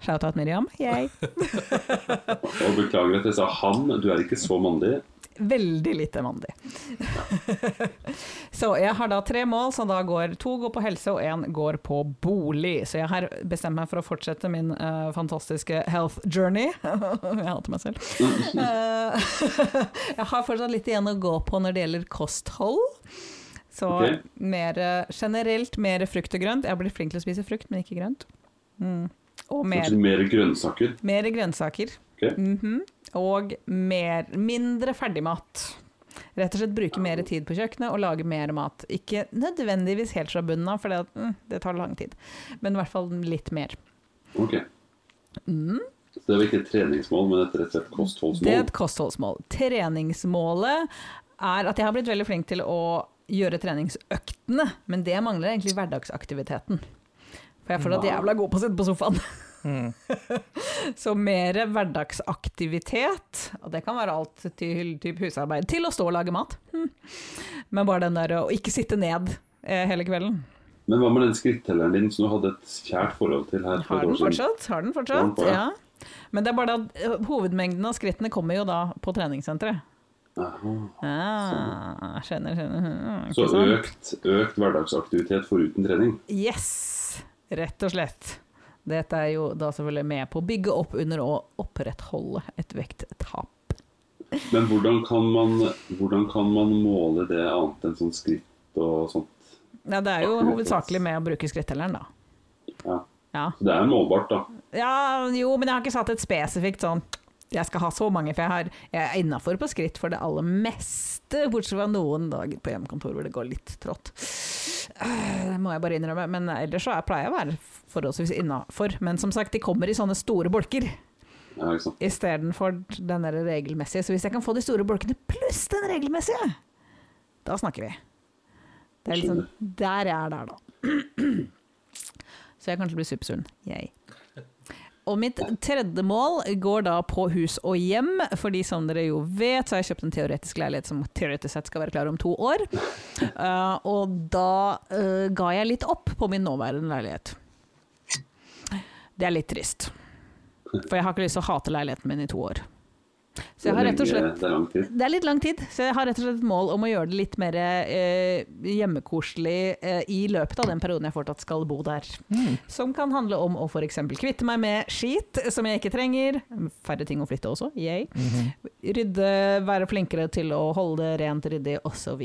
Shout-out Miriam. Yay. Og beklager at jeg sa han, du er ikke så mandig. Veldig lite mandig. så jeg har da tre mål, så da går to går på helse og én går på bolig. Så jeg har bestemt meg for å fortsette min eh, fantastiske health journey. jeg hater meg selv. Eh, jeg har fortsatt litt igjen å gå på når det gjelder kosthold. Så Ok. mer, eh, generelt mer frukt og grønt. Jeg blir flink til å spise frukt, men ikke grønt. Mm. Og mer, Kanskje mer grønnsaker. mer grønnsaker. Ok. Mhm. Og mer, mindre ferdigmat. Rett og slett bruke mer tid på kjøkkenet og lage mer mat. Ikke nødvendigvis helt fra bunnen av, for det, mm, det tar lang tid, men i hvert fall litt mer. Ok. Så det var ikke et treningsmål, men et rett og slett Mm. Det er kostholdsmål. et kostholdsmål. Treningsmålet er at jeg har blitt veldig flink til å gjøre treningsøktene, men det mangler egentlig hverdagsaktiviteten. For jeg er fortsatt jævla god på å sitte på sofaen. Mm. Så mer hverdagsaktivitet, og det kan være alt til typ husarbeid, til å stå og lage mat. Hm. Men bare den der å ikke sitte ned eh, hele kvelden. Men hva med den skrittelleren din som du hadde et kjært forhold til her for Har et den år siden? fortsatt? Har Har den den fortsatt? på, ja. Ja. Men det er bare at eh, hovedmengden av skrittene kommer jo da på treningssenteret. Aha. Ah, skjønner, skjønner. Mm, Så ikke sant? økt, økt hverdagsaktivitet foruten trening. Yes! Rett og slett. Dette er jo da selvfølgelig med på å bygge opp under og opprettholde et vekttap. Men hvordan kan man, hvordan kan man måle det annet enn sånn skritt og sånt? Ja, det er jo hovedsakelig med å bruke skrittelleren, da. Ja. Ja. Så det er målbart, da. ja, jo, men jeg har ikke satt et spesifikt sånn jeg skal ha så mange, for jeg, har, jeg er innafor på skritt for det aller meste, bortsett fra noen dager på hjemmekontor hvor det går litt trått. Øh, Det må jeg bare innrømme. Men ellers så er- pleier jeg å være forholdsvis innafor. Men som sagt, de kommer i sånne store bolker. Ja, ikke sant? istedenfor den der regelmessige. Så hvis jeg kan få de store bolkene pluss den regelmessige, da snakker vi. Det er liksom der jeg er der, da. Så jeg kan ikke bli supersunn. Jeg. Og mitt tredje mål går da på hus og hjem, fordi som dere jo vet, så har jeg kjøpt en teoretisk leilighet som teoretisk sett skal være klar om to år. Eh, og da eh, ga jeg litt opp på min nåværende leilighet. Det er litt trist. For jeg har ikke lyst til å hate leiligheten min i to år. Så jeg har rett og slett Det er lang tid. det er litt lang tid, så jeg har rett og slett et mål om å gjøre det litt mer eh, hjemmekoselig eh, i løpet av den perioden jeg fortsatt skal bo der. Som kan handle om å f.eks. kvitte meg med skit som jeg ikke trenger. Færre ting å flytte også, yay. Rydde, være flinkere til å holde det rent, ryddig osv.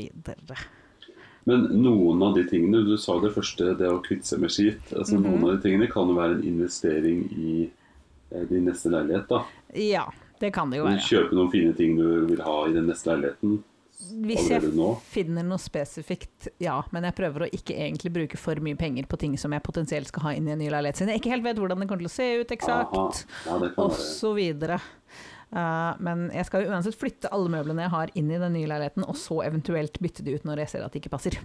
Men noen av de tingene, du sa det første, det å kvitte seg med skitt. Mhm. Altså, Noen av de tingene kan jo være en investering i eh, din neste leilighet. da. Ja, det kan det jo være. Kjøpe noen fine ting du vil ha i den neste leiligheten. Hvis jeg allerede nå? finner noe spesifikt, ja. Men jeg prøver å ikke egentlig bruke for mye penger på ting som jeg potensielt skal ha inn i en ny leilighet. Siden jeg ikke helt vet hvordan det kommer til å se ut Aha. eksakt. Ja, det kan og være. så videre. Eh, men jeg skal jo uansett flytte alle møblene jeg har inn i den nye leiligheten, og så eventuelt bytte de ut når jeg ser at de ikke passer.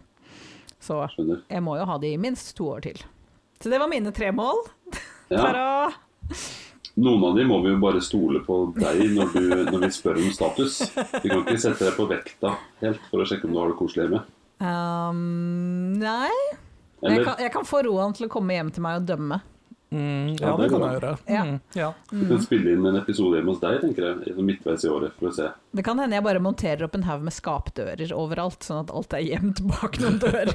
Så Skjønner. jeg må jo ha de i minst to år til. Så det var mine tre mål. Ja. Tara! Noen av de må vi jo bare stole på deg når, du, når vi spør om status. Vi kan ikke sette deg på vekta helt for å sjekke om du har det koselig hjemme. Um, nei Men jeg Eller kan, jeg kan få Roan til å komme hjem til meg og dømme. Mm, Ja, ja, det går det kan jeg gjøre. Ja. Mm, ja. vi Mhm. kan spille inn en episode hjemme hos deg, tenker jeg. i- Midtveis i året, for å se. Det kan hende jeg bare monterer opp en haug med skapdører overalt, sånn at alt er gjemt bak noen dører.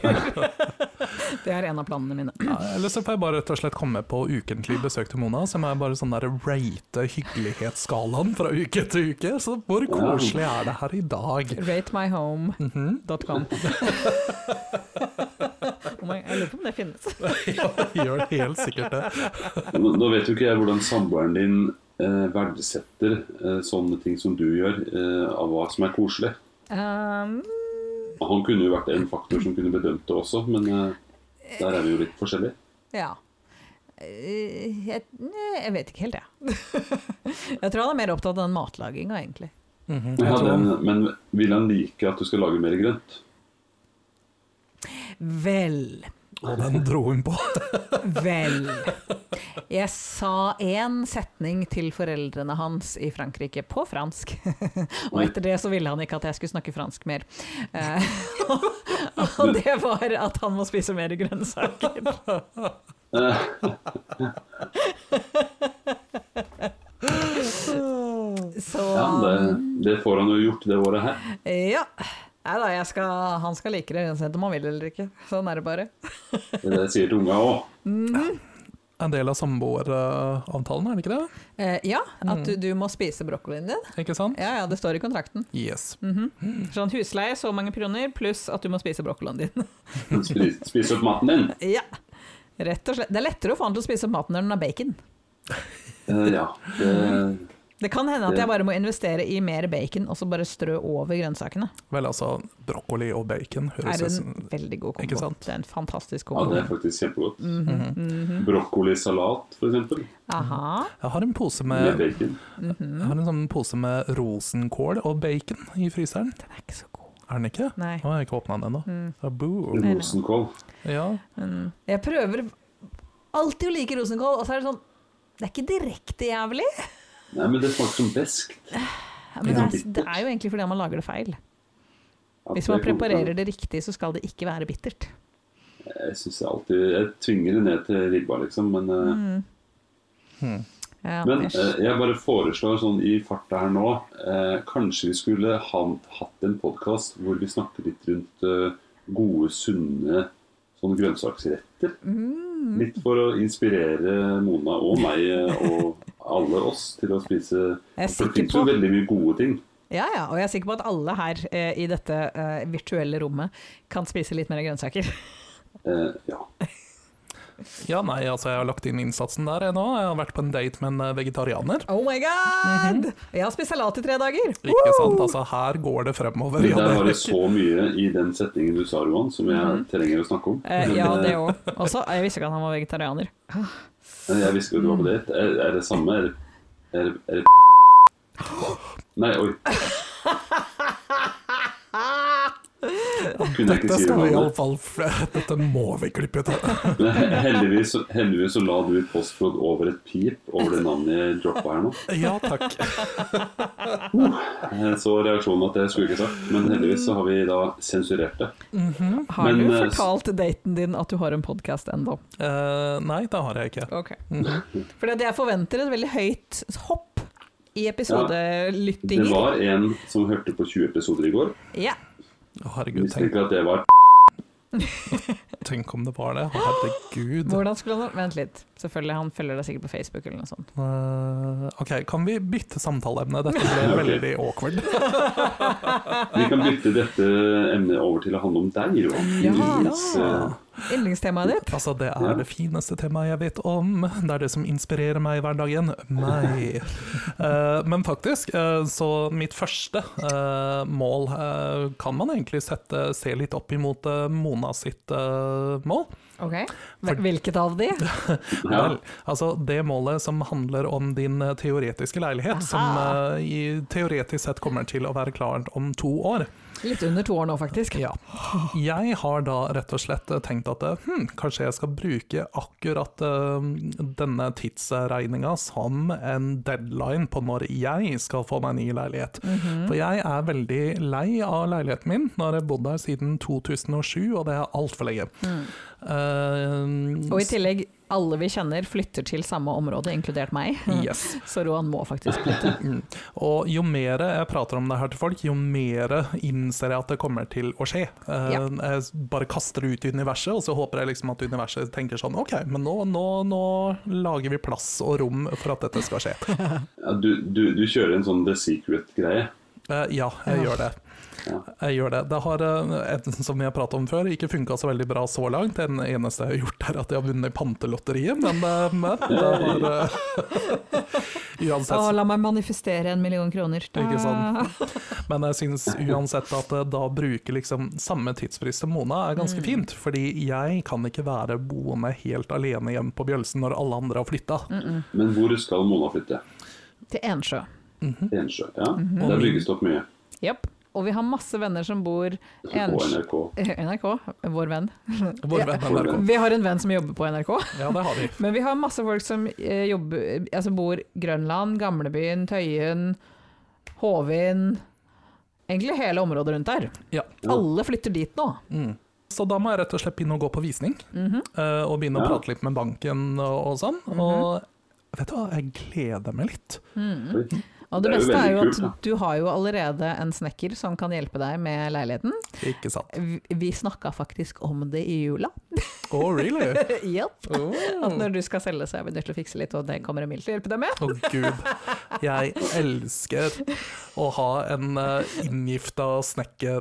det er en av planene mine. Ja, Eller så får jeg bare rett og slett komme på ukentlig besøk til Mona, som er bare sånn der rate hyggelighetsskalaen fra uke til uke. Så hvor koselig er det her i dag? Ratemyhome.com. Oh my- jeg lurer på om det finnes. Ja, gjør helt sikkert det. Nå nå vet jo ikke jeg hvordan samboeren din eh, verdsetter eh, sånne ting som du gjør, eh, av hva som er koselig. Um, Han kunne jo vært en faktor som kunne bedømt det også, men eh, der er vi jo litt forskjellige. ja. Eh, Jeg, nei, jeg vet ikke helt, jeg. jeg tror han er mer opptatt av den matlaginga, egentlig. Mhm, Men jeg hadde tror- han- men vil han like at du skal lage mer grønt? Vel, Og den dro hun på. vel. Jeg sa én setning til foreldrene hans i Frankrike, på fransk. Og etter det så ville han ikke at jeg skulle snakke fransk mer. Eh, og det var at han må spise mer grønnsaker. Eh, Så Ja, det, det får han jo gjort det året her. Ja. Nei da, jeg skal, han skal like det uansett om han vil eller ikke. Sånn er det bare. Det er Eh, det jeg sier til unga òg. En del av samboeravtalen, er det ikke det? Eh, ja, at du, du må spise brokkolien din. Ikke sant? Ja, ja, det står i kontrakten. Yes. Sånn husleie, så mange kroner, pluss at du må spise brokkolien din. Spis, spis opp maten din. ja, rett og slett. Det er lettere å få han til å spise opp maten når den har bacon. Eh, ja, det, Det kan hende at jeg bare må investere i mer bacon, og så bare strø over grønnsakene. Vel, altså, brokkoli og bacon Er høres ut en som veldig god Ikke kombo. sant? Det er en fantastisk Ja, det kombo. er faktisk kjempegodt. Mm-hmm. Brokkolisalat, for eksempel. Aha. Jeg har en pose Med med, bacon. jeg har en sånn pose med rosenkål og bacon i fryseren. Den er ikke så god. Er den ikke? Nei. Nå har jeg ikke åpna den ennå. Mm. Ja, boo. nei. Rosenkål. Ja. Men jeg prøver alltid å like rosenkål, og så er det sånn Det er ikke direkte jævlig, Nei, men det smaker som besk. men det Ja. er, det er jo egentlig fordi man lager det feil. Hvis man preparerer det riktig, så skal det ikke være bittert. Jeg synes jeg alltid Jeg tvinger det ned til ribba, liksom. Men, eh, Mm, Ja, men æsj. eh, jeg bare foreslår sånn i farta her nå eh, Kanskje vi skulle ha, hatt en podkast hvor vi snakker litt rundt eh, gode, sunne sånn grønnsaksretter. Mm. Litt for å inspirere Mona og meg eh, og alle oss til å spise Jeg er For det sikker finnes jo på veldig mye gode ting. Ja, ja, og jeg er sikker på at alle her eh, i dette eh, virtuelle rommet kan spise litt mer grønnsaker. Eh, ja. ja, nei, altså, jeg har lagt inn innsatsen der jeg nå. Jeg har vært på en date med en eh, vegetarianer. Oh my god! Jeg har spist salat i tre dager! Ikke sant? Altså, her går det fremover. Der Ja, var det det- så mye i den setningen du sa, Roan, som jeg trenger å snakke om. Mm. Eh, ja, det òg. Også, jeg visste ikke at han var vegetarianer. Men Jeg visste jo du var Mm. på date. Er, er det samme? Er, er, er det Nei, oi. Kunne jeg ikke si Dette det skal noe vi om det. iallfall Dette må vi klippe ut. Men he- heldigvis, så- heldigvis så la du i postflod over et pip over det navnet jeg droppa her nå. Ja takk. Jeg Eh, så reaksjonen at det skulle jeg ikke sagt, men heldigvis så har vi da sensurert det. Har Men, du eh, fortalt daten din at du har en podkast ennå? Eh, nei, det har jeg ikke. Okay. Mhm. For det- jeg forventer et veldig høyt hopp i episodelyttinger. Det var en som hørte på 20 episoder i går. Ja. Å, Herregud, tenk, Mistenker at det var tenk om det var det. Å, Herregud. Hvordan skulle han Vent litt. Selvfølgelig, han følger deg sikkert på Facebook eller noe sånt. Eh, ok, kan vi bytte samtaleemne? Dette ble Ok. veldig awkward. Vi kan bytte dette emnet over til å handle om deg, Roan. Ja. Din yndlings, eh, Yndlingstemaet ditt? Altså, det er det fineste temaet jeg vet om. Det er det som inspirerer meg i hverdagen. Meg. Eh, men faktisk, eh, så mitt første eh, mål eh, kan man egentlig sette, se litt opp imot eh, Mona sitt eh, mål. Ok. Hvil- Hvilket av de? ja. Vel, altså det målet som handler om din eh, teoretiske leilighet, som eh, i, teoretisk sett kommer til å være klar om to år. Litt under to år nå, faktisk. Ja. Jeg har da rett og slett eh, tenkt at eh, hm, kanskje jeg skal bruke akkurat eh, denne tidsregninga som en deadline på når jeg skal få meg ny leilighet. Mhm. For jeg er veldig lei av leiligheten min. Nå har jeg bodd der siden 2007, og det er altfor lenge. Eh, Mm. Og i tillegg, alle vi kjenner flytter til samme område, inkludert meg. yes. Så Roan må faktisk flytte. Mm. Og jo mer jeg prater om det her til folk, jo mer innser jeg at det kommer til å skje. Eh, Ja. Jeg s- bare kaster det ut i universet, og så håper jeg liksom at universet tenker sånn OK, men nå, nå, nå lager vi plass og rom for at dette skal skje. Ja, du, du, du kjører en sånn The Secret-greie. Eh, ja, jeg gjør det. Ja. Jeg gjør det. Det har, eh, et, som vi har pratet om før, ikke funka så veldig bra så langt. Det eneste jeg har gjort, er at jeg har vunnet pantelotteriet, men, eh, men det var eh, Uansett. Å, la meg manifestere en million kroner. Ikke sant? Men jeg syns uansett at eh, da bruker liksom samme tidsfrist som Mona er ganske fint. Fordi jeg kan ikke være boende helt alene hjemme på Bjølsen når alle andre har flytta. Men hvor skal Mona flytte? Til Ensjø. Mhm. Til Ensjø. Ja. Der bygges det opp mye. Japp. Og vi har masse venner som bor På Ensjø. Eh, NRK. NRK, vår venn. Vår venn NRK. Vi har en venn som jobber på NRK. Ja, det har vi. Men vi har masse folk som eh, jobber, altså bor Grønland, Gamlebyen, Tøyen, Håvin Egentlig hele området rundt der. Ja. Alle flytter dit nå. Så da må jeg rett og slett begynne å gå på visning, eh, og begynne å Ja. prate litt med banken og, og sånn. Og vet du hva, jeg gleder meg litt. Oi. Og det, Det er jo beste er jo veldig at kult, du har jo allerede en snekker som kan hjelpe deg med leiligheten. Ikke sant? Vi- Vi snakka faktisk om det i jula. Oh, really? Japp. Oh. At når du skal selge, så er vi nødt til å fikse litt, og det kommer Emil til å hjelpe deg med. Å gud, jeg elsker å ha en uh, inngifta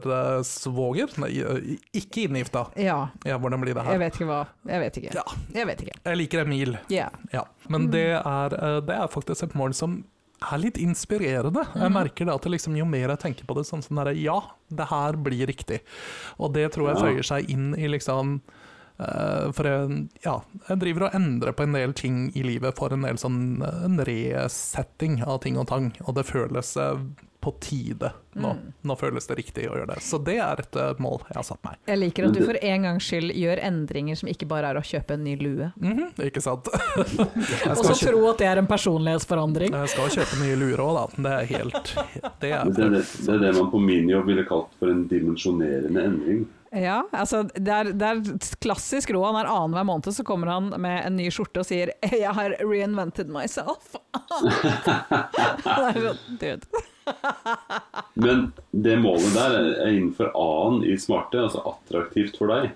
snekkersvoger. Nei, eh, ikke inngifta. Ja, Ja, hvordan blir det jeg her? vet ikke hva. Jeg vet ikke. Ja. Jeg vet ikke. Jeg liker Emil. Ja. Mm. Ja. Men det er, eh, det er faktisk et mål som er litt inspirerende. Jeg merker det at det liksom, jo mer jeg tenker på det, sånn som derre Ja, det her blir riktig. Og det tror jeg Ja. føyer seg inn i liksom eh, For jeg, ja, jeg driver og endrer på en del ting i livet for en del sånn eh, en resetting av ting og tang, og det føles eh, på tide nå. Nå føles det riktig å gjøre det. Så det er et eh, mål jeg har satt meg. Jeg liker at du for en gangs skyld gjør endringer som ikke bare er å kjøpe en ny lue. Mhm, ikke sant? Og Jeg så skal, kjø- tro at det er en personlighetsforandring. jeg skal kjøpe nye luer òg, da. Det er helt Det er Men Det, er det, det er det man på min jobb ville kalt for en dimensjonerende endring. Ja, altså det er, det er klassisk Roan. er Annenhver måned så kommer han med en ny skjorte og sier 'Jeg har reinvented myself'. det er sånn, dude. Men det målet der er innenfor A-en i smarte, altså attraktivt for deg.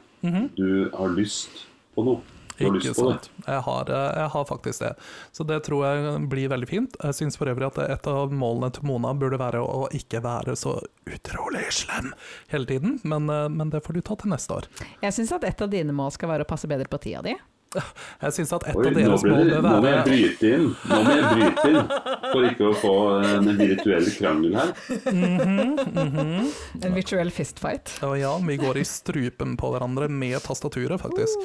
Du har lyst på noe. Du har Mhm. Ikke lyst på det. sant. Jeg har, eh, jeg har faktisk det. Så det tror jeg blir veldig fint. Jeg syns for øvrig at et av målene til Mona burde være å ikke være så utrolig slem hele tiden, men, eh, men det får du ta til neste år. Jeg syns at et av dine mål skal være å passe bedre på tida di. Jeg syns at et Oi, av nå, deres ble mål det, bør nå må jeg være bryte inn Nå må jeg bryte inn for ikke å få en virtuell krangel her. En virtuell fistfight. Å ja, vi går i strupen på hverandre med tastaturet, faktisk.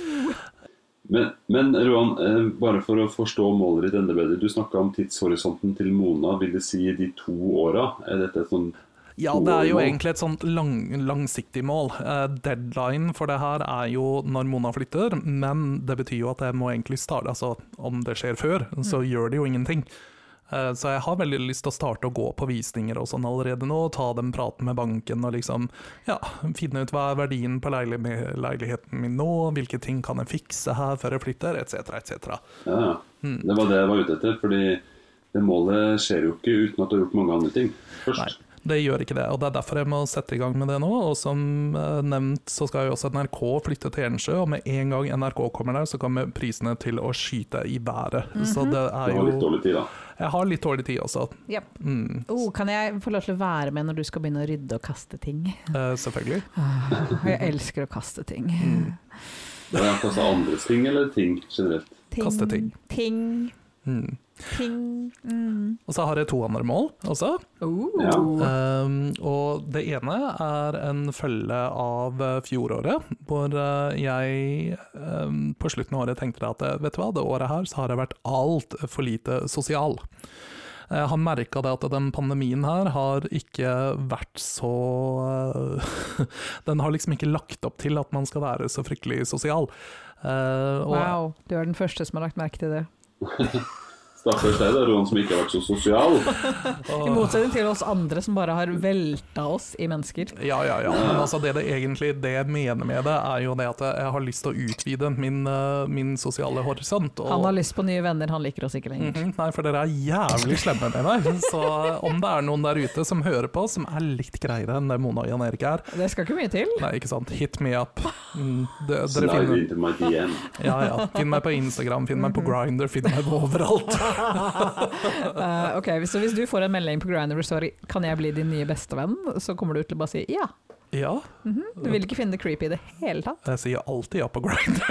Men, men Roan, eh, bare for å forstå målet ditt enda bedre. Du snakka om tidshorisonten til Mona, vil det si de to åra? Er dette et sånn Ja, det er jo Åmål. egentlig et sånt lang, langsiktig mål. Eh, Deadline for det her er jo når Mona flytter, men det betyr jo at jeg må egentlig starte. Altså, om det skjer før, så gjør det jo ingenting. Eh, Så jeg har veldig lyst til å starte å gå på visninger og sånn allerede nå, ta den praten med banken og liksom ja, finne ut hva er verdien på leili- leiligheten min nå, hvilke ting kan jeg fikse her før jeg flytter, etc., etc. Ja, Hmm. det var det jeg var ute etter. Fordi det målet skjer jo ikke uten at du har gjort mange andre ting først. Nei, det gjør ikke det. og Det er derfor jeg må sette i gang med det nå. og Som eh, nevnt så skal jo også NRK flytte til Ensjø, og med en gang NRK kommer der, så kommer prisene til å skyte i været. Så det Det er var litt jo dårlig tid, da. Jeg har litt dårlig tid også, Mm, Yep. Oh, kan jeg få lov til å være med når du skal begynne å rydde og kaste ting? eh, selvfølgelig. Og jeg elsker å kaste ting. Mm. Var det altså andres ting eller ting generelt? ting Kaste ting. Ting. Mm. Ting. Mm. Og så har jeg to andre mål også. Oh. Ja. Um, og det ene er en følge av eh, fjoråret, hvor eh, jeg um, på slutten av året tenkte at eh, vet du hva, det året her så har jeg vært altfor lite sosial. Jeg har merka det at den pandemien her har ikke vært så eh, Den har liksom ikke lagt opp til at man skal være så fryktelig sosial. Eh, og Wow, du er den første som har lagt merke til det. Stakkars deg, da, Roan, som ikke har vært så sosial. I motsetning til oss andre som bare har velta oss i mennesker. Ja, ja, ja. Men altså det, det, egentlig, det jeg mener med det, er jo det at jeg har lyst til å utvide min, eh, min sosiale horisont. og- Han har lyst på nye venner, han liker oss ikke lenger. Mhm, Nei, for dere er jævlig slemme med meg. Så om det er noen der ute som hører på, som er litt greiere enn det Mona og Jan Erik er Det skal ikke mye til. Nei, ikke sant. Hit me up. Mm, det, dere Slide finner, into my DM. ja, ja. Finn meg på Instagram, finn Mhm. meg på Grinder, finn meg på overalt. Eh, ok, Så hvis du får en melding på Grindr hvor det står 'kan jeg bli din nye bestevenn', så kommer du til å bare si ja. Ja, Du vil ikke finne det creepy i det hele tatt. jeg sier alltid ja på Grinder.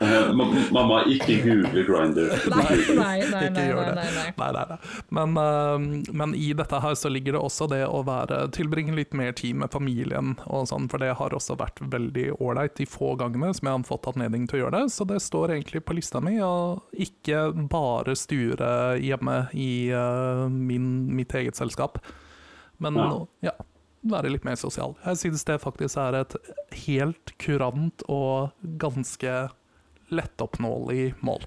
Eh, ma- Mamma, ikke google Grinder. Nei, nei, nei. Ikke gjør det. Nei, nei, nei. Men, eh, men i dette her så ligger det også det å være, tilbringe litt mer tid med familien og sånn, for det har også vært veldig ålreit de få gangene som jeg har fått anledning til å gjøre det. Så det står egentlig på lista mi å ikke bare sture hjemme i eh, min, mitt eget selskap, men ja. Ja. ja. Være litt mer sosial. Jeg synes det faktisk er et helt kurant og ganske lettoppnåelig mål.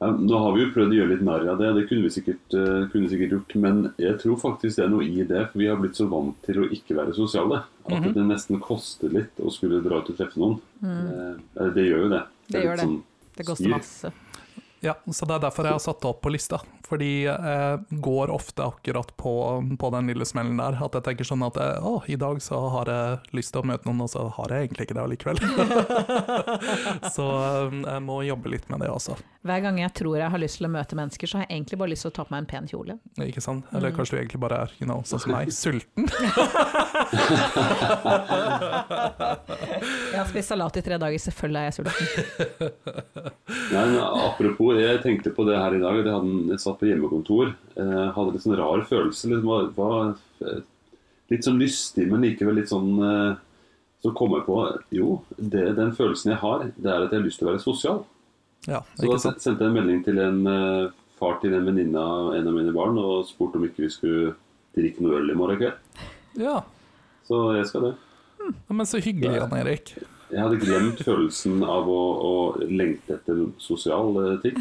Ja, Nå har vi jo prøvd å gjøre litt narr av det, det kunne vi, sikkert, eh, kunne vi sikkert gjort. Men jeg tror faktisk det er noe i det, for vi har blitt så vant til å ikke være sosiale. At Mhm. det nesten koster litt å skulle dra ut og treffe noen. Eh, eh, det gjør jo det. Mm. Det gjør Sånn litt det. Det koster styr. masse. Ja, så det er derfor jeg har satt det opp på lista. Fordi jeg går ofte akkurat på, på den lille smellen der. At jeg tenker sånn at eh, å, i dag så har jeg lyst til å møte noen, og så har jeg egentlig ikke det allikevel. så eh, jeg må jobbe litt med det også. Hver gang jeg tror jeg har lyst til å møte mennesker, så har jeg egentlig bare lyst til å ta på meg en pen kjole. Ikke sant? Eller kanskje du egentlig bare er you know, sånn som meg, sulten. Jeg har spist salat i tre dager, selvfølgelig er jeg sulten. Nei, men apropos, jeg tenkte på det her i dag. Jeg, hadde, en- jeg satt på hjemmekontor. Eh, hadde litt sånn rar følelse. Liksom, var, var eh, litt sånn lystig, men likevel litt sånn eh, Så kom jeg på Jo, det, den følelsen jeg har, det er at jeg har lyst til å være sosial. Ja, Så ikke da sant? sendte jeg en melding til en eh, far til en venninne av en av mine barn og spurte om ikke vi skulle drikke noe øl i morgen kveld. Ja, Så jeg skal det. Men så hyggelig, Jan Erik. Jeg hadde glemt følelsen av å, å lengte etter sosiale ting.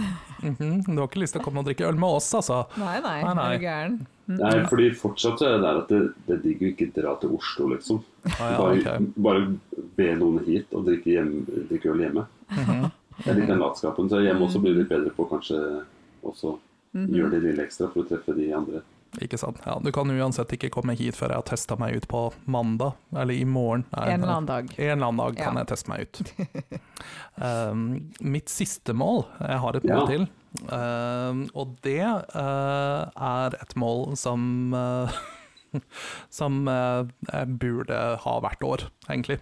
Mhm, Du har ikke lyst til å komme og drikke øl med oss, altså? Nei, nei, Nei, nei. er du gæren. Nei, Mm. fordi fortsatt så er det der at det, det er digg å ikke dra til Oslo, liksom. Ah, ja, bare, ok. bare be noen hit og drikke, hjem, drikke øl hjemme. Mhm. Det er litt den latskapen. Så hjemme også blir det litt bedre på kanskje også Mhm. gjøre det lille ekstra for å treffe de andre. Ikke sant. Ja, du kan uansett ikke komme hit før jeg har testa meg ut på mandag, eller i morgen. Nei, En eller annen dag. En eller annen dag kan Ja. jeg teste meg ut. um, mitt siste mål, jeg har et mål Ja. til, um, og det uh, er et mål som uh, som uh, jeg burde ha hvert år, egentlig.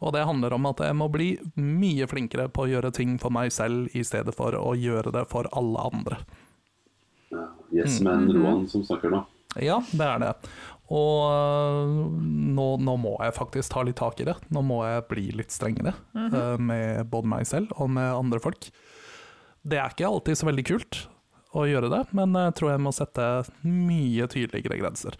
Og det handler om at jeg må bli mye flinkere på å gjøre ting for meg selv, i stedet for å gjøre det for alle andre. Ja, yes Mm. man, Mhm. Roan som snakker nå. Ja, det er det. Og øh, nå, nå må jeg faktisk ta litt tak i det. Nå må jeg bli litt strengere øh, med både meg selv og med andre folk. Det er ikke alltid så veldig kult å gjøre det, men jeg tror jeg må sette mye tydeligere grenser.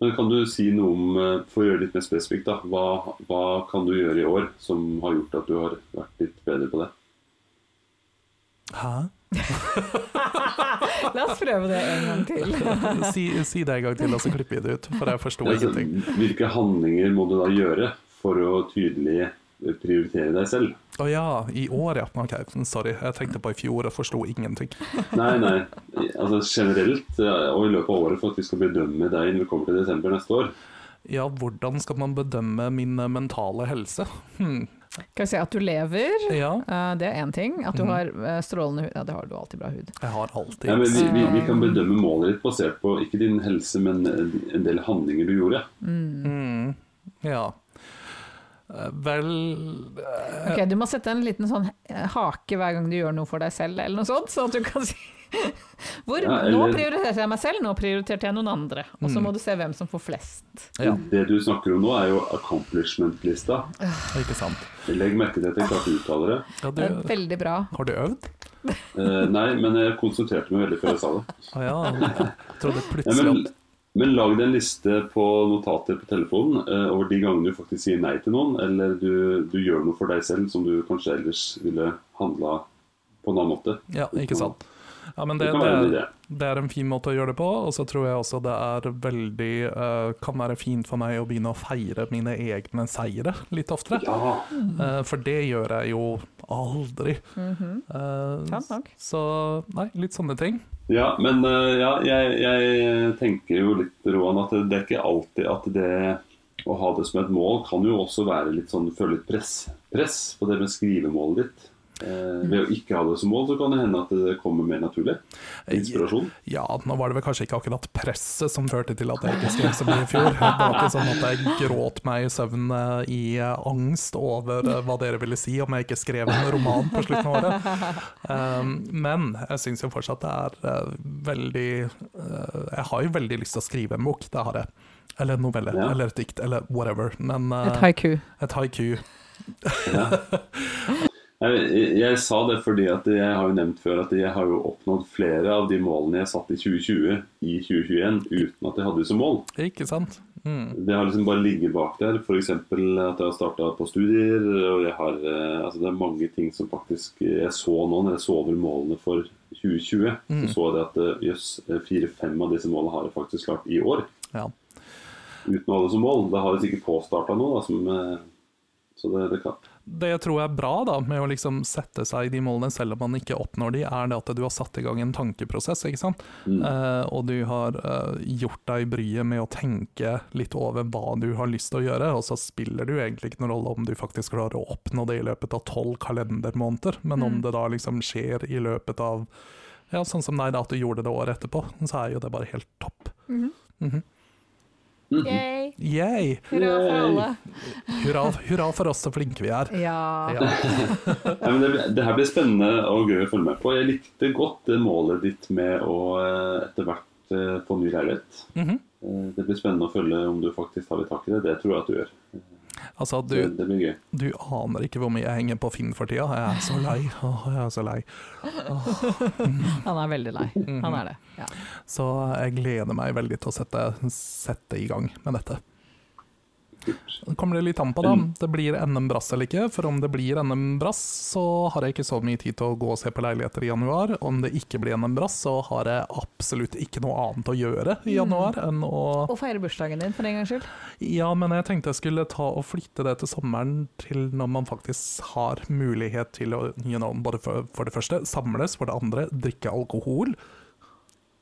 Men kan du si noe om, eh, for å gjøre det litt mer spesifikt, da, hva, hva kan du gjøre i år som har gjort at du har vært litt bedre på det? Hæ? La oss prøve det en gang til. Si, si det en gang til, og så klipper vi det ut, for jeg forsto Altså, ingenting. hvilke handlinger må du da gjøre for å tydelig eh, prioritere deg selv? Å ja, i år, ja. Ok, sorry. Jeg tenkte på i fjor og forsto ingenting. Nei, nei. Altså generelt, eh, og i løpet av året, for at vi skal bedømme deg når vi kommer til desember neste år. Ja, hvordan skal man bedømme min øh, mentale helse? Hmm. Skal vi si at du lever, Ja, eh, det er én ting. At du har eh, strålende hud, ja det har du alltid bra hud. jeg har alltid Ja, men vi, vi, vi kan bedømme målet ditt basert på ikke din helse, men eh, en en del handlinger du gjorde. Mm, ja. Eh, Vel eh, Ok, Du må sette en liten sånn eh, hake hver gang du gjør noe for deg selv, eller noe sånt. Sånn at du kan si Hvor, Ja, Nå eller- prioriterte jeg meg selv, nå prioriterte jeg noen andre. Og så Mm. må du se hvem som får flest. Ja, Det du snakker om nå, er jo accomplishment-lista. ikke sant. Legg merke til at jeg klarte å uttale det. Ja, du, Det er veldig bra. har du øvd? Eh, nei, men jeg konsentrerte meg veldig før jeg sa det. Å ja. Jeg trodde Ja, plutselig men, at men lag deg en liste på notater på telefonen eh, over de gangene du faktisk sier nei til noen, eller du, du gjør noe for deg selv som du kanskje ellers ville handla på en annen måte. Ja, ikke sant. Ja, men det, Det kan være en det, det er en fin måte å gjøre det på, og så tror jeg også det er veldig eh, kan være fint for meg å begynne å feire mine egne seire litt oftere. Ja, Eh, for det gjør jeg jo aldri. Eh, Mhm. Sant nok. så nei, litt sånne ting. ja men eh, ja, jeg, jeg tenker jo litt, Roan, at det er ikke alltid at det å ha det som et mål kan jo også være litt sånn føle litt press, press på det med skrivemålet ditt. Eh, ved å ikke ha det som mål, så kan det hende at det kommer mer naturlig. Inspirasjon. Ja, nå var det vel kanskje ikke akkurat presset som førte til at jeg ikke skrev så mye i fjor. Det var ikke sånn at jeg gråt meg i søvn eh, i eh, angst over eh, hva dere ville si om jeg ikke skrev en roman på slutten av året. Um, men jeg syns jo fortsatt det er eh, veldig eh, Jeg har jo veldig lyst til å skrive en bok, det har jeg. Eller en novelle, Ja. eller et dikt, eller whatever. Men eh, Et haiku. et haiku Jeg, jeg, jeg sa det fordi at jeg har jo nevnt før at jeg har jo oppnådd flere av de målene jeg satt i 2020 i 2021 uten at jeg hadde det som mål. Ikke sant? Mm. Det har liksom bare ligget bak der. F.eks. at jeg har starta på studier. og jeg har, eh, altså Det er mange ting som faktisk Jeg så nå når jeg så over målene for 2020, så så jeg det at eh, jøss, fire-fem av disse målene har jeg faktisk klart i år. Ja. Uten å ha det som mål. Da har jeg sikkert påstarta noe. Da, som, eh, så det, det kan. det jeg tror er bra da, med å liksom sette seg de målene selv om man ikke oppnår de, er det at du har satt i gang en tankeprosess. ikke sant? Mm. Eh, og du har eh, gjort deg bryet med å tenke litt over hva du har lyst til å gjøre, og så spiller det jo egentlig ikke noen rolle om du faktisk klarer å oppnå det i løpet av tolv kalendermåneder, men om Mm. det da liksom skjer i løpet av ja, sånn som deg, da, at du gjorde det året etterpå, så er jo det bare helt topp. Mhm. Mhm. Yay! Yay! Hurra for Yay. alle. Hurra, hurra for oss så flinke vi er. Ja. Ja. Nei, men det, det her blir spennende og gøy å følge med på. Jeg likte godt det målet ditt med å eh, etter hvert eh, få ny leilighet. Mhm. Eh, Det blir spennende å følge om du faktisk tar litt tak i det. Det tror jeg at du gjør. Altså, Det, du, det blir gøy. du aner ikke hvor mye jeg henger på Finn for tida. Jeg er så lei. Åh, jeg er så lei. Han er veldig lei. Mhm. Han er det. Ja. Så jeg gleder meg veldig til å sette, sette i gang med dette. Det kommer det litt an på, da. om Det blir NM-brass eller ikke. For om det blir NM-brass, så har jeg ikke så mye tid til å gå og se på leiligheter i januar. Om det ikke blir NM-brass, så har jeg absolutt ikke noe annet å gjøre i januar enn å Og feire bursdagen din, for en gangs skyld. Ja, men jeg tenkte jeg skulle ta og flytte det til sommeren, til når man faktisk har mulighet til å, you know, både for, for det første samles, for det andre drikke alkohol.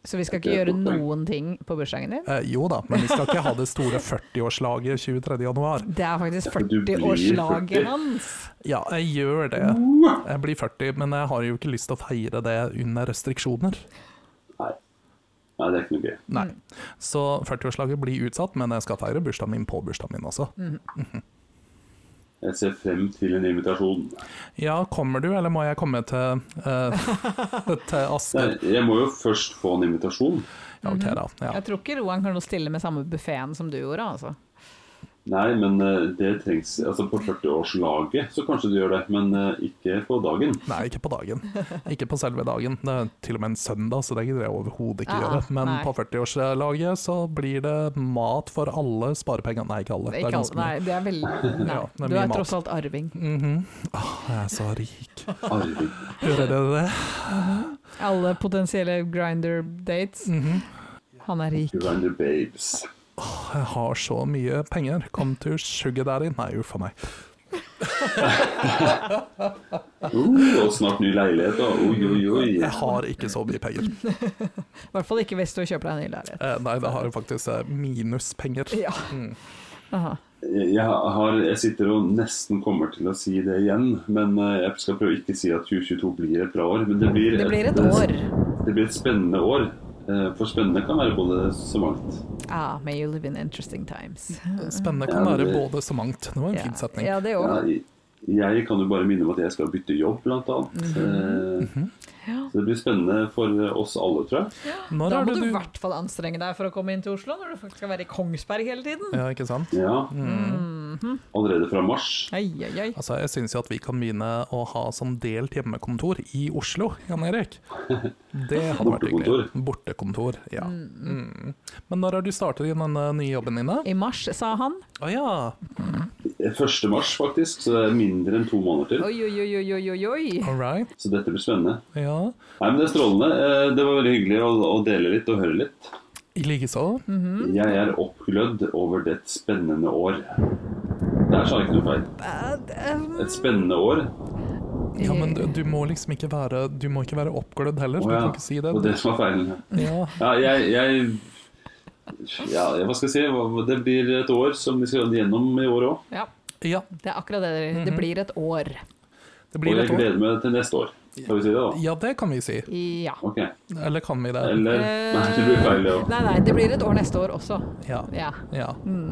Så vi skal ikke gjøre noen ting på bursdagen din. Eh, jo da, men vi skal ikke ha det store 40-årslaget 23. januar. Det er faktisk Ja, du blir 40. 40-årslaget hans. Ja, jeg gjør det. Jeg blir 40, men jeg har jo ikke lyst til å feire det under restriksjoner. Nei. Nei, det er ikke noe gøy. Nei. Så 40-årslaget blir utsatt, men jeg skal feire bursdagen min på bursdagen min også. Jeg ser frem til en invitasjon. Ja, kommer du, eller må jeg komme til, eh, til Nei, Asker? jeg må jo først få en invitasjon. Ja, ok da. Ja. Jeg tror ikke Roan kan stille med samme buffeen som du gjorde, altså. Nei, men eh, det trengs Altså på 40-årslaget så kanskje du gjør det, men eh, ikke på dagen. Nei, ikke på dagen. Ikke på selve dagen. Det er til og med en søndag, så det gidder jeg overhodet ikke Ah, gjøre. Men nei. på 40-årslaget så blir det mat for alle sparepengene. Nei, ikke alle. Det er ikke alle. ganske Nei, mye. det er veldig Nei, Ja, det du er mye er mat. tross alt arving. Mhm. Åh, jeg er så rik. Arving. Hører dere det? Alle potensielle grinder-dates. Mhm. Han er rik. Grinder babes. Jeg har så mye penger. Kom til Sugar Daddy. Nei, uff a meg. Uh, og snart ny leilighet, da. Oi, oi, Jeg oi. har ikke så mye penger. I hvert fall ikke hvis du kjøper deg en ny leilighet. Eh, nei, det har jeg faktisk eh, minuspenger. Ja. Mm. Aha. Jeg, har, jeg sitter og nesten kommer til å si det igjen, men eh, jeg skal prøve å ikke si at 2022 blir et bra år. Men det blir, Det blir et år. Det blir et spennende år. Eh, For spennende kan være både så mangt. Ah, may you live in interesting times. Spennende kan Ja, være det- både så mangt. Det var en fin setning. Ja, det Ja, òg. jeg- Jeg kan jo bare minne om at jeg skal bytte jobb, blant Mhm. annet. Eh, Så det blir spennende for eh, oss alle, tror jeg. Når Da er må det du i du hvert fall anstrenge deg for å komme inn til Oslo, når du faktisk skal være i Kongsberg hele tiden. Ja, ikke sant? Ja. Mhm. Allerede fra mars. Ai, ai, ai. Altså, jeg syns jo at vi kan begynne å ha sånn delt hjemmekontor i Oslo, Jan Erik. Det hadde vært hyggelig. Bortekontor. Ja. Mm. Men når har du startet i denne nye jobben din, da? I mars, sa han. Å ja. 1. Eh, mars, faktisk, så det er mindre enn to måneder til. Oi, oi, oi, oi, oi, oi, oi. All right. Så dette blir spennende. Ja. Nei, men Det er strålende. Eh, Det var veldig hyggelig å, å dele litt og høre litt. I likeså. Mm. Jeg er oppglødd over det spennende år. Der sa jeg ikke noe feil. Et spennende år. Ja, men Eh. du, du må liksom ikke være Du må ikke være oppglødd heller. Å Du ja, kan ikke si det. og det som er feilen. Ja. Ja, jeg, jeg ja, hva skal jeg si? Hva- Det blir et år som vi skal gjennom i år òg. Ja, ja. det er akkurat det. dere- Mhm. Det blir et år. Det Og blir jeg et år. gleder meg til neste år. Skal vi si det, da? Ja, det kan vi si. Ja. Ok. Eller kan vi det? Eller Nei, det blir feil, det òg. Nei, nei, det blir et år neste år også. Ja. Ja. Mm.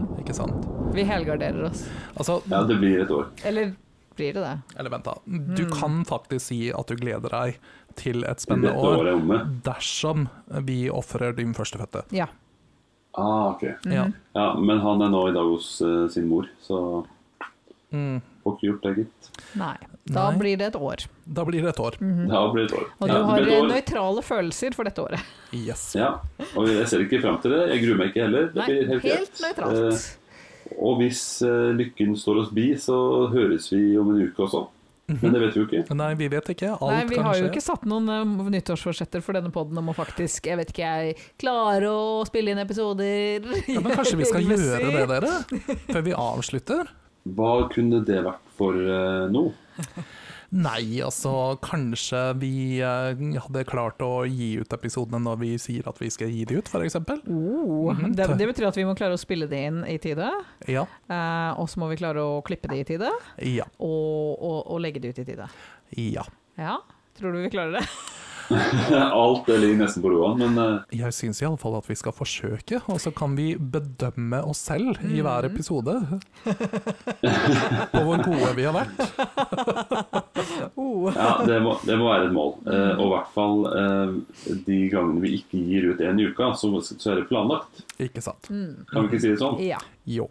ja. Ikke sant. Vi helgarderer oss. Altså, Ja, det blir et år. Eller blir det det? Eller vent, da. Du Mm. kan faktisk si at du gleder deg til et spennende Dette året år er omme. dersom vi ofrer din førstefødte. Ja. Ah, ok. Mm-hmm. Ja. Ja, men han er nå i dag hos eh, sin mor, så Mm. Får ikke gjort det, gitt. Nei. Da Nei. blir det et år. Da blir det et år. Mm-hmm. Ja, det blir et år. Og Ja, du har det blir et år. nøytrale følelser for dette året. Yes. Ja, og jeg ser ikke fram til det. Jeg gruer meg ikke heller. Det Nei, blir helt helt greit. nøytralt. Eh, Og hvis eh, lykken står oss bi, så høres vi om en uke også. Men det vet vi jo ikke. Nei, vi vet ikke. Alt Nei, vi kan har jo skje. ikke satt noen eh, nyttårsforsetter for denne poden om å faktisk, jeg vet ikke jeg, klare å spille inn episoder. ja, men kanskje vi skal gjøre det, dere? Før vi avslutter? Hva kunne det vært for eh, noe? Nei, altså kanskje vi eh, hadde klart å gi ut episodene når vi sier at vi skal gi de ut, f.eks. Oh, det, det betyr at vi må klare å spille det inn i tide, Ja. eh, og så må vi klare å klippe det i tide, Ja. og, og, og legge det ut i tide. Ja. Ja, tror du vi klarer det? Alt det ligger nesten på roa, men eh, Jeg syns iallfall at vi skal forsøke, og så kan vi bedømme oss selv i hver episode. På hvor gode vi har vært. Oh. Ja, det må, det må være et mål. Eh, og i hvert fall eh, de gangene vi ikke gir ut en i uka, så, så er det planlagt. Ikke sant? Kan vi ikke si det sånn? Ja. Jo.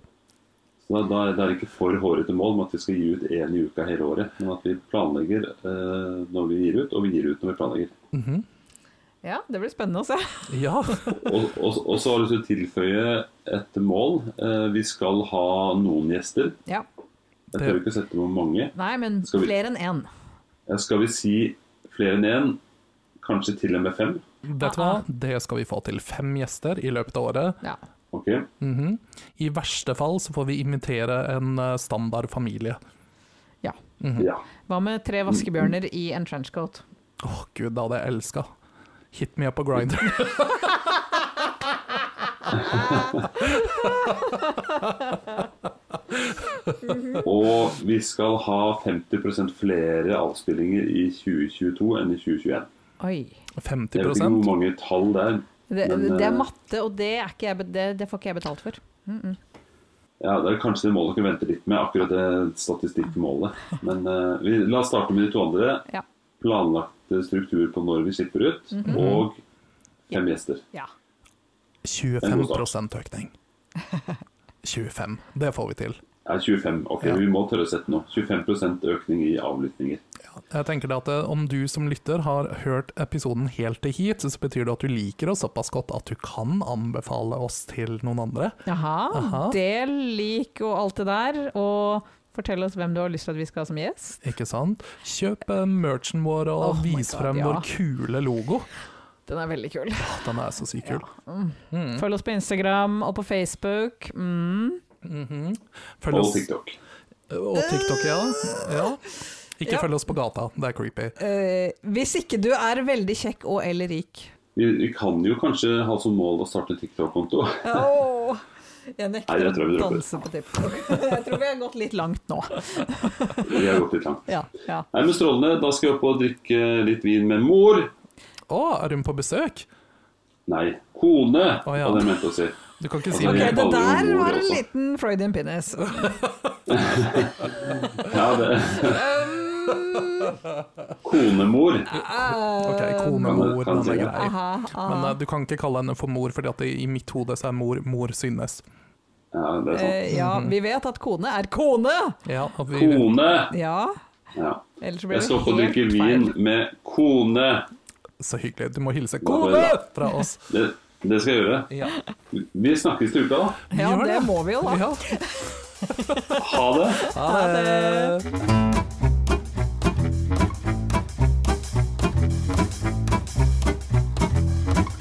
Så da, da er det ikke for hårete mål med at vi skal gi ut én i uka hele året, men at vi planlegger eh, når vi gir ut, og vi gir ut når vi planlegger. Mhm. ja, det blir spennende å se. Ja. Og, og, og så har jeg lyst til å tilføye et mål. Eh, vi skal ha noen gjester. Ja. Jeg tør ikke sette hvor mange. Nei, men Skal vi- flere enn én. Eh, Skal vi si flere enn én? Kanskje til og med fem? Vet du hva, det skal vi få til fem gjester i løpet av året. Ja. Ok. Mhm. I verste fall så får vi invitere en eh, standard familie. ja. Ja. Hva med tre vaskebjørner i en trenchcoat? Åh gud, det hadde jeg elska. Hit me up på grinder. Og vi skal ha 50 flere avspillinger i 2022 enn i 2021. Oi. Jeg vet ikke 50 hvor mange tall det er. Det, Men, det eh, er matte, og det, er ikke jeg, be- det, det får ikke jeg betalt for. Ja, det er kanskje det målet dere venter litt med, akkurat det statistikkmålet. Men eh, vi, la oss starte med de to andre. Ja. Planlagt eh, struktur på når vi slipper ut, og fem gjester. Ja. 25 økning. 25. Det får vi til. Er 25. Ok, Ja. vi må tørre å sette noe. 25 økning i avlyttinger. Jeg tenker det at eh, Om du som lytter har hørt episoden helt til hit, så betyr det at du liker oss såpass godt at du kan anbefale oss til noen andre. Jaha. Aha. Del, lik og alt det der. Og fortell oss hvem du har lyst til at vi skal ha som gjest. Ikke sant? Kjøp eh, merchen vår og Oh my vis God, frem ja. vår kule logo. Den er veldig kul. Åh, Den er så sykt kul. Mm. Følg oss på Instagram og på Facebook. Mm. Følg Og oss eh, TikTok. Og TikTok, ja. ja. Ikke Ja. følg oss på gata, det er creepy. Eh, hvis ikke du er veldig kjekk og eller rik. Vi, vi kan jo kanskje ha som mål å starte TikTok-konto. Åh, jeg Nei, nekter det tror jeg vi å dropper. danse på TikTok. Jeg tror vi har gått litt langt nå. Vi har gått litt langt. Ja, ja. Nei, men Strålende. Da skal jeg opp og drikke litt vin med mor. Å, er hun på besøk? Nei, kone, Å, ja. var det jeg mente å si. Du kan ikke Ok, si Ok, Jeg det kaller jo der mor var en også. liten Freudian penis. Ja, det. Konemor. Ok, Kan du- konemor, kan du den si er det? grei. Aha, Men eh, du kan ikke kalle henne for mor, fordi at det, i mitt hode så er mor mor synes. Ja, det er sant. Eh, ja, vi vet at kone er kone! Ja, og vi, Kone. Ja, Ja. ellers så blir Jeg det skal opp og helt drikke feil. vin med kone. så hyggelig. Du må var hilse kone det fra oss. Det, det skal jeg gjøre. Ja, Vi snakkes til uka, da. Ja, Gjør det må vi jo da. Ja. Ha det. Ha det.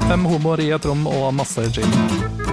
Fem homoer i et rom og masse gin.